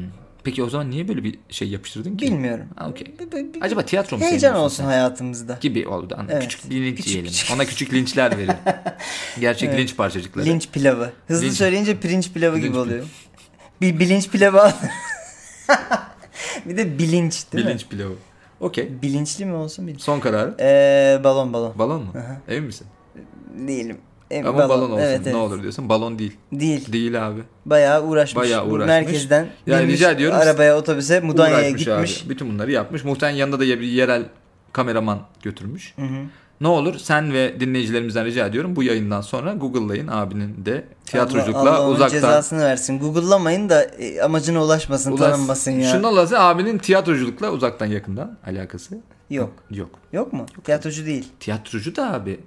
B: Peki o zaman niye böyle bir şey yapıştırdın ki?
A: Bilmiyorum.
B: Ha, okey.
A: Bir- bir- bir-
B: Acaba tiyatro mu
A: Heyecan
B: sevmiyorsun
A: olsun
B: sen?
A: hayatımızda.
B: gibi oldu. Anladım.
A: Evet.
B: Küçük bir linç
A: Küçük,
B: yiyelim.
A: küçük.
B: Ona küçük linçler verin. Gerçek linç parçacıkları.
A: Linç pilavı. Hızlı
B: Linç-
A: söyleyince pirinç pilavı
B: Bilinç
A: gibi
B: pi-
A: oluyor. bir bilinç pilavı al. bir de bilinç değil
B: Bilinç pilavı. Okey.
A: mi? Bilinçli mi olsun bilinç?
B: Son kararı.
A: Ee, balon balon.
B: Balon mu?
A: Aha.
B: Emin misin?
A: Değilim. E,
B: Ama balon, olsun.
A: Evet, evet.
B: Ne olur diyorsun. Balon değil.
A: Değil.
B: Değil abi.
A: Bayağı uğraşmış.
B: Bayağı
A: Bu
B: uğraşmış.
A: Merkezden
B: Yani
A: binmiş
B: rica ediyorum.
A: arabaya otobüse Mudanya'ya
B: Uğraşmış abi.
A: gitmiş.
B: Bütün bunları yapmış. Muhtemelen yanında da bir yerel kameraman götürmüş.
A: Hı hı.
B: Ne olur sen ve dinleyicilerimizden rica ediyorum bu yayından sonra Google'layın abinin de tiyatrocukla
A: Allah, Allah onun
B: uzaktan
A: cezasını versin. Google'lamayın da e, amacına ulaşmasın,
B: Ulaş-
A: tanınmasın ya.
B: Şundan olası abinin tiyatroculukla uzaktan yakından alakası
A: Yok.
B: yok.
A: Yok mu? Tiyatrocu değil.
B: Tiyatrocu da abi.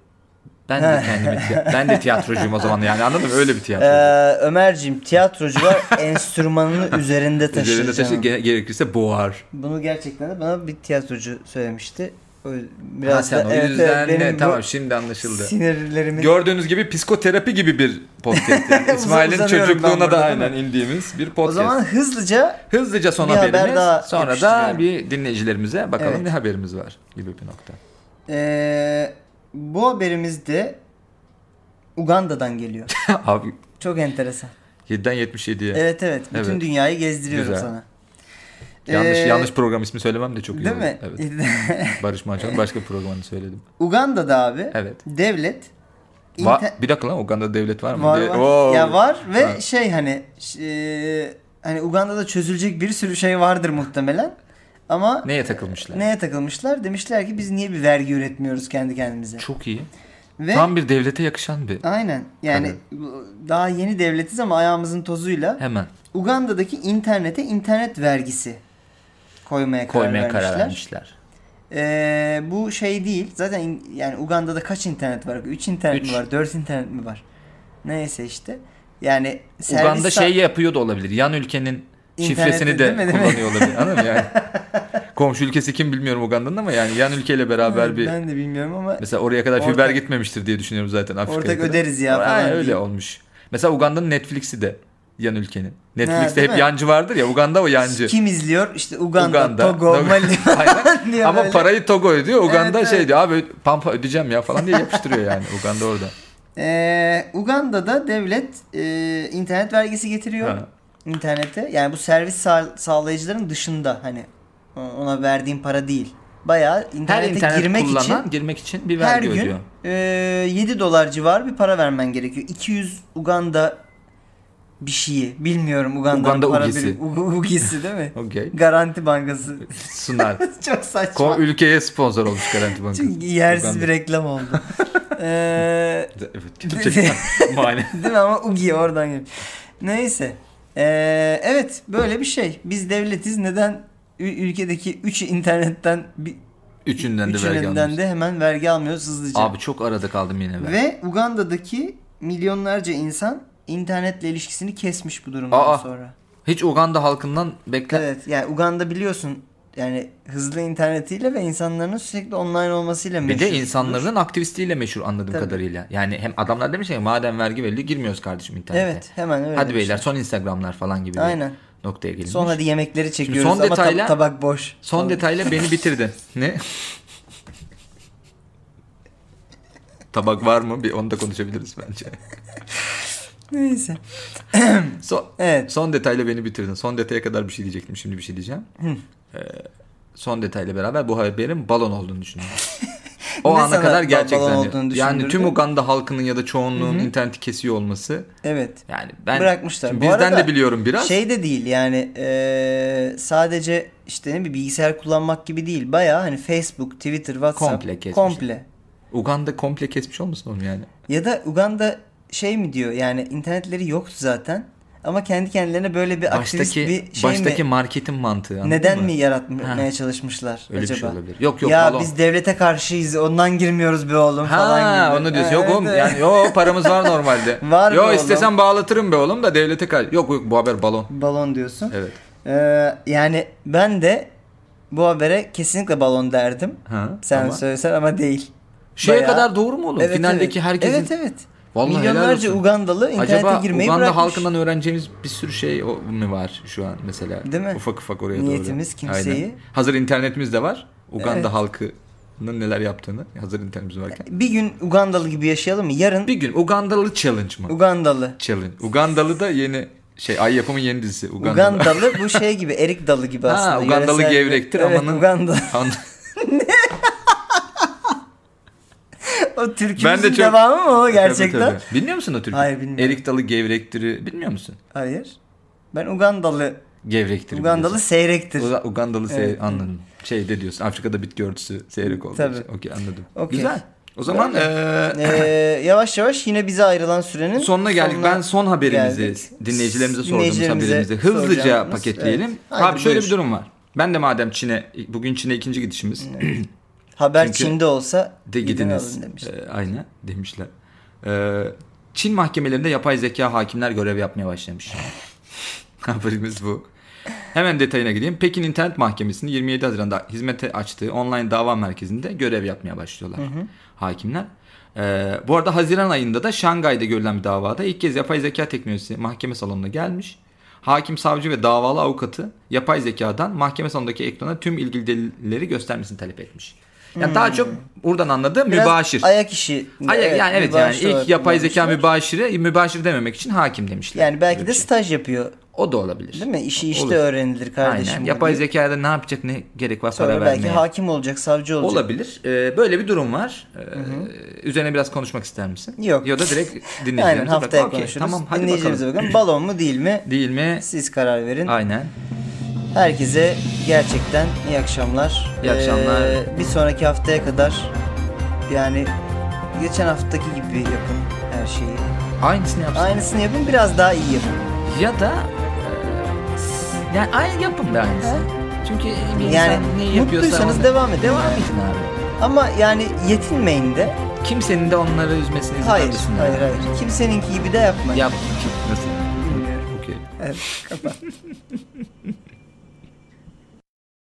B: Ben de kendimi tiya- ben de tiyatrocuyum o zaman yani anladın mı? Öyle bir
A: Ee,
B: tiyatrocu.
A: Ömerciğim tiyatrocular enstrümanını üzerinde taşır.
B: Üzerinde taşı
A: canım.
B: ge- gerekirse boğar.
A: Bunu gerçekten de bana bir tiyatrocu söylemişti. O- Biraz
B: Ha sen
A: da-
B: o
A: evet,
B: yüzden
A: evet,
B: ne?
A: bu
B: Tamam şimdi anlaşıldı.
A: Sinirlerimin
B: Gördüğünüz gibi psikoterapi gibi bir podcast. yani. İsmail'in
A: Uzanıyorum ben
B: çocukluğuna da
A: burada, değil mi?
B: aynen indiğimiz bir
A: O
B: podcast.
A: zaman hızlıca
B: Hızlıca son
A: bir haber
B: haberimiz
A: daha
B: sonra da
A: yapıştırıyorum.
B: bir dinleyicilerimize bakalım
A: Evet.
B: ne haberimiz var gibi bir nokta.
A: ee, bu haberimiz de Uganda'dan geliyor.
B: Abi
A: Çok enteresan.
B: 7'den 77'ye.
A: Evet evet. Bütün
B: Evet.
A: dünyayı gezdiriyorum
B: Güzel.
A: sana.
B: Yanlış
A: Ee,
B: yanlış program ismi söylemem de çok iyi
A: Değil
B: oldu.
A: mi?
B: Evet. Barış Manço'nun başka programını söyledim.
A: Uganda'da abi
B: Evet.
A: devlet
B: Va-
A: inter-
B: bir dakika lan Uganda'da devlet var mı?
A: var,
B: diye-
A: var.
B: Oo.
A: ya var ve
B: Ha.
A: şey hani ş- e, hani Uganda'da çözülecek bir sürü şey vardır muhtemelen. Ama
B: Neye takılmışlar?
A: neye takılmışlar? Demişler ki biz niye bir vergi üretmiyoruz kendi kendimize?
B: Çok iyi.
A: Ve
B: Tam bir devlete yakışan bir.
A: aynen yani daha yeni devletiz ama ayağımızın tozuyla
B: Hemen
A: Uganda'daki internete internet vergisi koymaya karar
B: koymaya
A: vermişler.
B: karar vermişler.
A: Ee, bu şey değil. Zaten in- yani Uganda'da kaç internet var? 3 internet
B: Üç.
A: mi var? 4 internet mi var? Neyse işte. Yani servis
B: Uganda
A: sa-
B: şey yapıyor da olabilir. Yan ülkenin
A: İnterneti
B: şifresini de
A: değil mi, değil mi?
B: kullanıyor olabilir. Anladın mı yani? Komşu ülkesi kim bilmiyorum Uganda'nın ama yani yan ülkeyle beraber bir
A: Ben de bilmiyorum ama
B: mesela oraya kadar
A: Ortak-
B: fiber gitmemiştir diye düşünüyorum zaten Afrika'ya.
A: Ortak
B: kadar.
A: öderiz ya
B: Ay,
A: falan
B: öyle
A: diye.
B: olmuş. Mesela Uganda'nın Netflix'i de yan ülkenin. Netflix'te
A: değil
B: hep
A: mi?
B: yancı vardır ya Uganda o yancı.
A: kim izliyor? İşte Uganda, Togo,
B: Togo.
A: Mali
B: Aynen.
A: diye
B: Ama
A: böyle.
B: parayı Togo ödüyor. Uganda
A: Evet,
B: şey
A: evet.
B: diyor abi pampa ödeyeceğim ya falan diye yapıştırıyor yani Uganda orada.
A: Ee, Uganda'da devlet e, internet vergisi getiriyor
B: Ha.
A: internete. Yani bu servis sağ- sağlayıcıların dışında hani ona verdiğin para değil. Bayağı
B: Her
A: internete
B: internet
A: girmek için
B: kullanan girmek için bir
A: her
B: vergi
A: gün
B: ödüyor.
A: e, 7 dolar civarı bir para vermen gerekiyor. 200 Uganda bir şeyi. Bilmiyorum Uganda'nın
B: Uganda
A: para
B: Ugisi.
A: birim- U- Ugisi değil mi?
B: Okey.
A: Garanti Bankası.
B: Sunar.
A: Çok saçma.
B: Ko ülkeye sponsor olmuş Garanti Bankası.
A: Çünkü yersiz
B: Uganda.
A: bir reklam oldu. Ee, Eee
B: Evet gerçekten mani.
A: Değil mi ama Ugi oradan geliyor. Neyse. Ee, evet böyle bir şey. Biz devletiz neden ü- ülkedeki 3 internetten bir,
B: Üçünden de vergi
A: üçünden
B: almış.
A: de hemen vergi almıyoruz hızlıca.
B: Abi çok arada kaldım yine ben.
A: Ve Uganda'daki milyonlarca insan internetle ilişkisini kesmiş bu durumdan
B: Aa.
A: sonra.
B: Hiç Uganda halkından beklen...
A: Evet yani Uganda biliyorsun yani hızlı internetiyle ve insanların sürekli online olmasıyla
B: Bir
A: meşhur.
B: de insanların aktivistiyle meşhur anladığım
A: Tabii.
B: kadarıyla. Yani hem adamlar demiş ya madem vergi veriliyor girmiyoruz kardeşim internete.
A: Evet hemen öyle.
B: Hadi
A: bir şey.
B: beyler son Instagramlar falan gibi
A: Aynen.
B: bir noktaya gelinmiş.
A: Son hadi yemekleri çekiyoruz
B: son
A: ama tab-
B: detayla-
A: tabak boş.
B: Son
A: Tabii.
B: detayla beni bitirdin. Ne? Tabak var mı? Bir onu da konuşabiliriz bence.
A: Neyse.
B: Son,
A: Evet.
B: son detayla beni bitirdin. Son detaya kadar bir şey diyecektim. Şimdi bir şey diyeceğim. Ee, son detayla beraber bu haberin balon olduğunu düşünüyorum. O
A: Ne
B: ana
A: sana
B: kadar
A: ba-
B: gerçek
A: balon
B: zannediyorum.
A: olduğunu
B: Yani tüm
A: düşündürdü?
B: Uganda halkının ya da çoğunluğun interneti kesiyor olması.
A: Evet.
B: Yani ben
A: Bırakmışlar.
B: Şimdi
A: Bu
B: bizden
A: arada
B: de biliyorum biraz.
A: Şey de değil yani eee, sadece işte ne bir bilgisayar kullanmak gibi değil. Bayağı hani Facebook, Twitter, WhatsApp
B: Komple kesmiş.
A: komple.
B: Uganda komple kesmiş olmasın oğlum yani.
A: Ya da Uganda şey mi diyor yani internetleri yoktu zaten ama kendi kendilerine böyle bir aktivist
B: Baştaki
A: bir şey
B: baştaki
A: mi
B: marketin mantığı. anladın
A: neden
B: mı?
A: mi yaratmaya
B: Ha.
A: çalışmışlar
B: Öyle
A: acaba?
B: bir şey olabilir. Yok yok
A: ya
B: balon.
A: biz devlete karşıyız ondan girmiyoruz be oğlum
B: Ha
A: falan gibi.
B: onu diyorsun. Yok
A: Evet,
B: oğlum
A: evet.
B: yani yo paramız var normalde.
A: Var be
B: yo
A: oğlum.
B: istesen bağlatırım be oğlum da devlete kal. Yok yok bu haber balon.
A: Balon diyorsun.
B: Evet.
A: Eee, yani ben de bu habere kesinlikle balon derdim.
B: Ha,
A: Sen
B: ama-
A: söylesen ama değil.
B: Şeye
A: Bayağı-
B: kadar doğru mu oğlum? Finaldeki
A: evet.
B: herkesin
A: Evet evet.
B: Vallahi helal
A: Milyonlarca
B: olsun.
A: Ugandalı internete
B: Acaba
A: girmeyi
B: Uganda
A: bırakmış.
B: halkından öğreneceğimiz bir sürü şey o- mu var şu an mesela?
A: Değil mi?
B: Ufak ufak oraya
A: Niyetimiz
B: doğru.
A: kimseyi-
B: Aynen. Hazır internetimiz de var. Uganda
A: Evet. E-
B: halkının neler yaptığını hazır internetimiz varken.
A: Bir gün Ugandalı gibi yaşayalım mı? Yarın
B: Bir gün Ugandalı challenge mı?
A: Ugandalı.
B: challenge. Ugandalı da yeni şey Ay Yapım'ın yeni dizisi. Ugandalı.
A: Ugandalı bu şey gibi erik dalı gibi
B: Ha,
A: aslında.
B: Ugandalı
A: Yöresel-
B: gevrektir
A: evet,
B: amanın.
A: Uganda.
B: An-
A: o
B: Ben
A: türkümüzün
B: de çok-
A: devamı mı o gerçekten?
B: Tabii, tabii. Bilmiyor musun o türkü?
A: Hayır, bilmiyorum.
B: Erik Dalı gevrektir'i bilmiyor musun?
A: Hayır. Ben Ugandalı.
B: Gevrektir'i
A: Ugandalı seyrektir.
B: biliyorsun. Uga- Ugandalı sey
A: Evet.
B: anladım. Şey de diyorsun Afrika'da bitki örtüsü seyrek oldu.
A: Tabii.
B: Okey anladım.
A: Okey.
B: Güzel. O zaman eee,
A: Ee, yavaş yavaş yine bize ayrılan sürenin
B: sonuna geldik.
A: sonuna
B: ben son haberimizi
A: geldik.
B: dinleyicilerimize sorduğumuz
A: Dinleyicilerimize
B: haberimizi hızlıca
A: soracağımız-
B: paketleyelim.
A: Evet. Haydi
B: Abi şöyle
A: buyur.
B: bir durum var. Ben de madem Çin'e bugün Çin'e ikinci gidişimiz.
A: Haber
B: Çünkü-
A: Çin'de olsa
B: de
A: gidin
B: gidiniz.
A: alın demiş.
B: Ee, aynen demişler. Ee, Çin mahkemelerinde yapay zeka hakimler görev yapmaya başlamış. Haberimiz bu. Hemen detayına gideyim. Pekin İnternet Mahkemesi'nin 27 Haziran'da hizmete açtığı online dava merkezinde görev yapmaya başlıyorlar hakimler. Ee, bu arada Haziran ayında da Şangay'da görülen bir davada ilk kez yapay zeka teknolojisi mahkeme salonuna gelmiş. Hakim, savcı ve davalı avukatı yapay zekadan mahkeme salonundaki ekrana tüm ilgili delilleri göstermesini talep etmiş. Yani daha çok buradan anladığım
A: Hmm. Biraz
B: mübaşir.
A: Ayak işi.
B: Ay- yani evet yani
A: mübaşir
B: ilk
A: olarak
B: yapay zeka
A: kullanmışlar.
B: mübaşiri, mübaşir dememek için hakim demişler.
A: Yani belki de
B: Böyle bir şey.
A: staj yapıyor.
B: o da olabilir.
A: Değil mi? İşi işte
B: Olur.
A: öğrenilir kardeşim.
B: Aynen.
A: bu
B: Yapay
A: diye.
B: zekada ne yapacak ne gerek var
A: Sonra
B: para
A: belki
B: vermeye.
A: hakim olacak, savcı olacak.
B: Olabilir. Ee, böyle bir durum var. Ee, üzerine biraz konuşmak ister misin?
A: Yok.
B: Ya da direkt
A: Aynen
B: dinleyicilerimize
A: haftaya
B: bırak. Okey,
A: konuşuruz.
B: Tamam hadi
A: Dinleyicilerimize
B: bakalım.
A: bakın. Balon mu değil mi?
B: Değil mi?
A: Siz karar verin.
B: Aynen.
A: Herkese gerçekten iyi akşamlar. Ee,
B: İyi akşamlar.
A: bir sonraki haftaya kadar yani geçen haftaki gibi yapın her şeyi.
B: Aynısını yapsın.
A: Aynısını yapın biraz daha iyi yapın.
B: Ya da e, yani aynı yapın da aynısı. Çünkü bir
A: Yani
B: insan neyi yapıyorsa
A: mutluysanız
B: onu-
A: devam edin.
B: Devam edin abi.
A: Ama yani yetinmeyin de.
B: Kimsenin de onları üzmesini izin
A: Hayır,
B: vermesinler.
A: hayır, hayır. Kimseninki gibi de yapmayın.
B: Yap. Nasıl?
A: Bilmiyorum.
B: Okey.
A: Evet, kapat.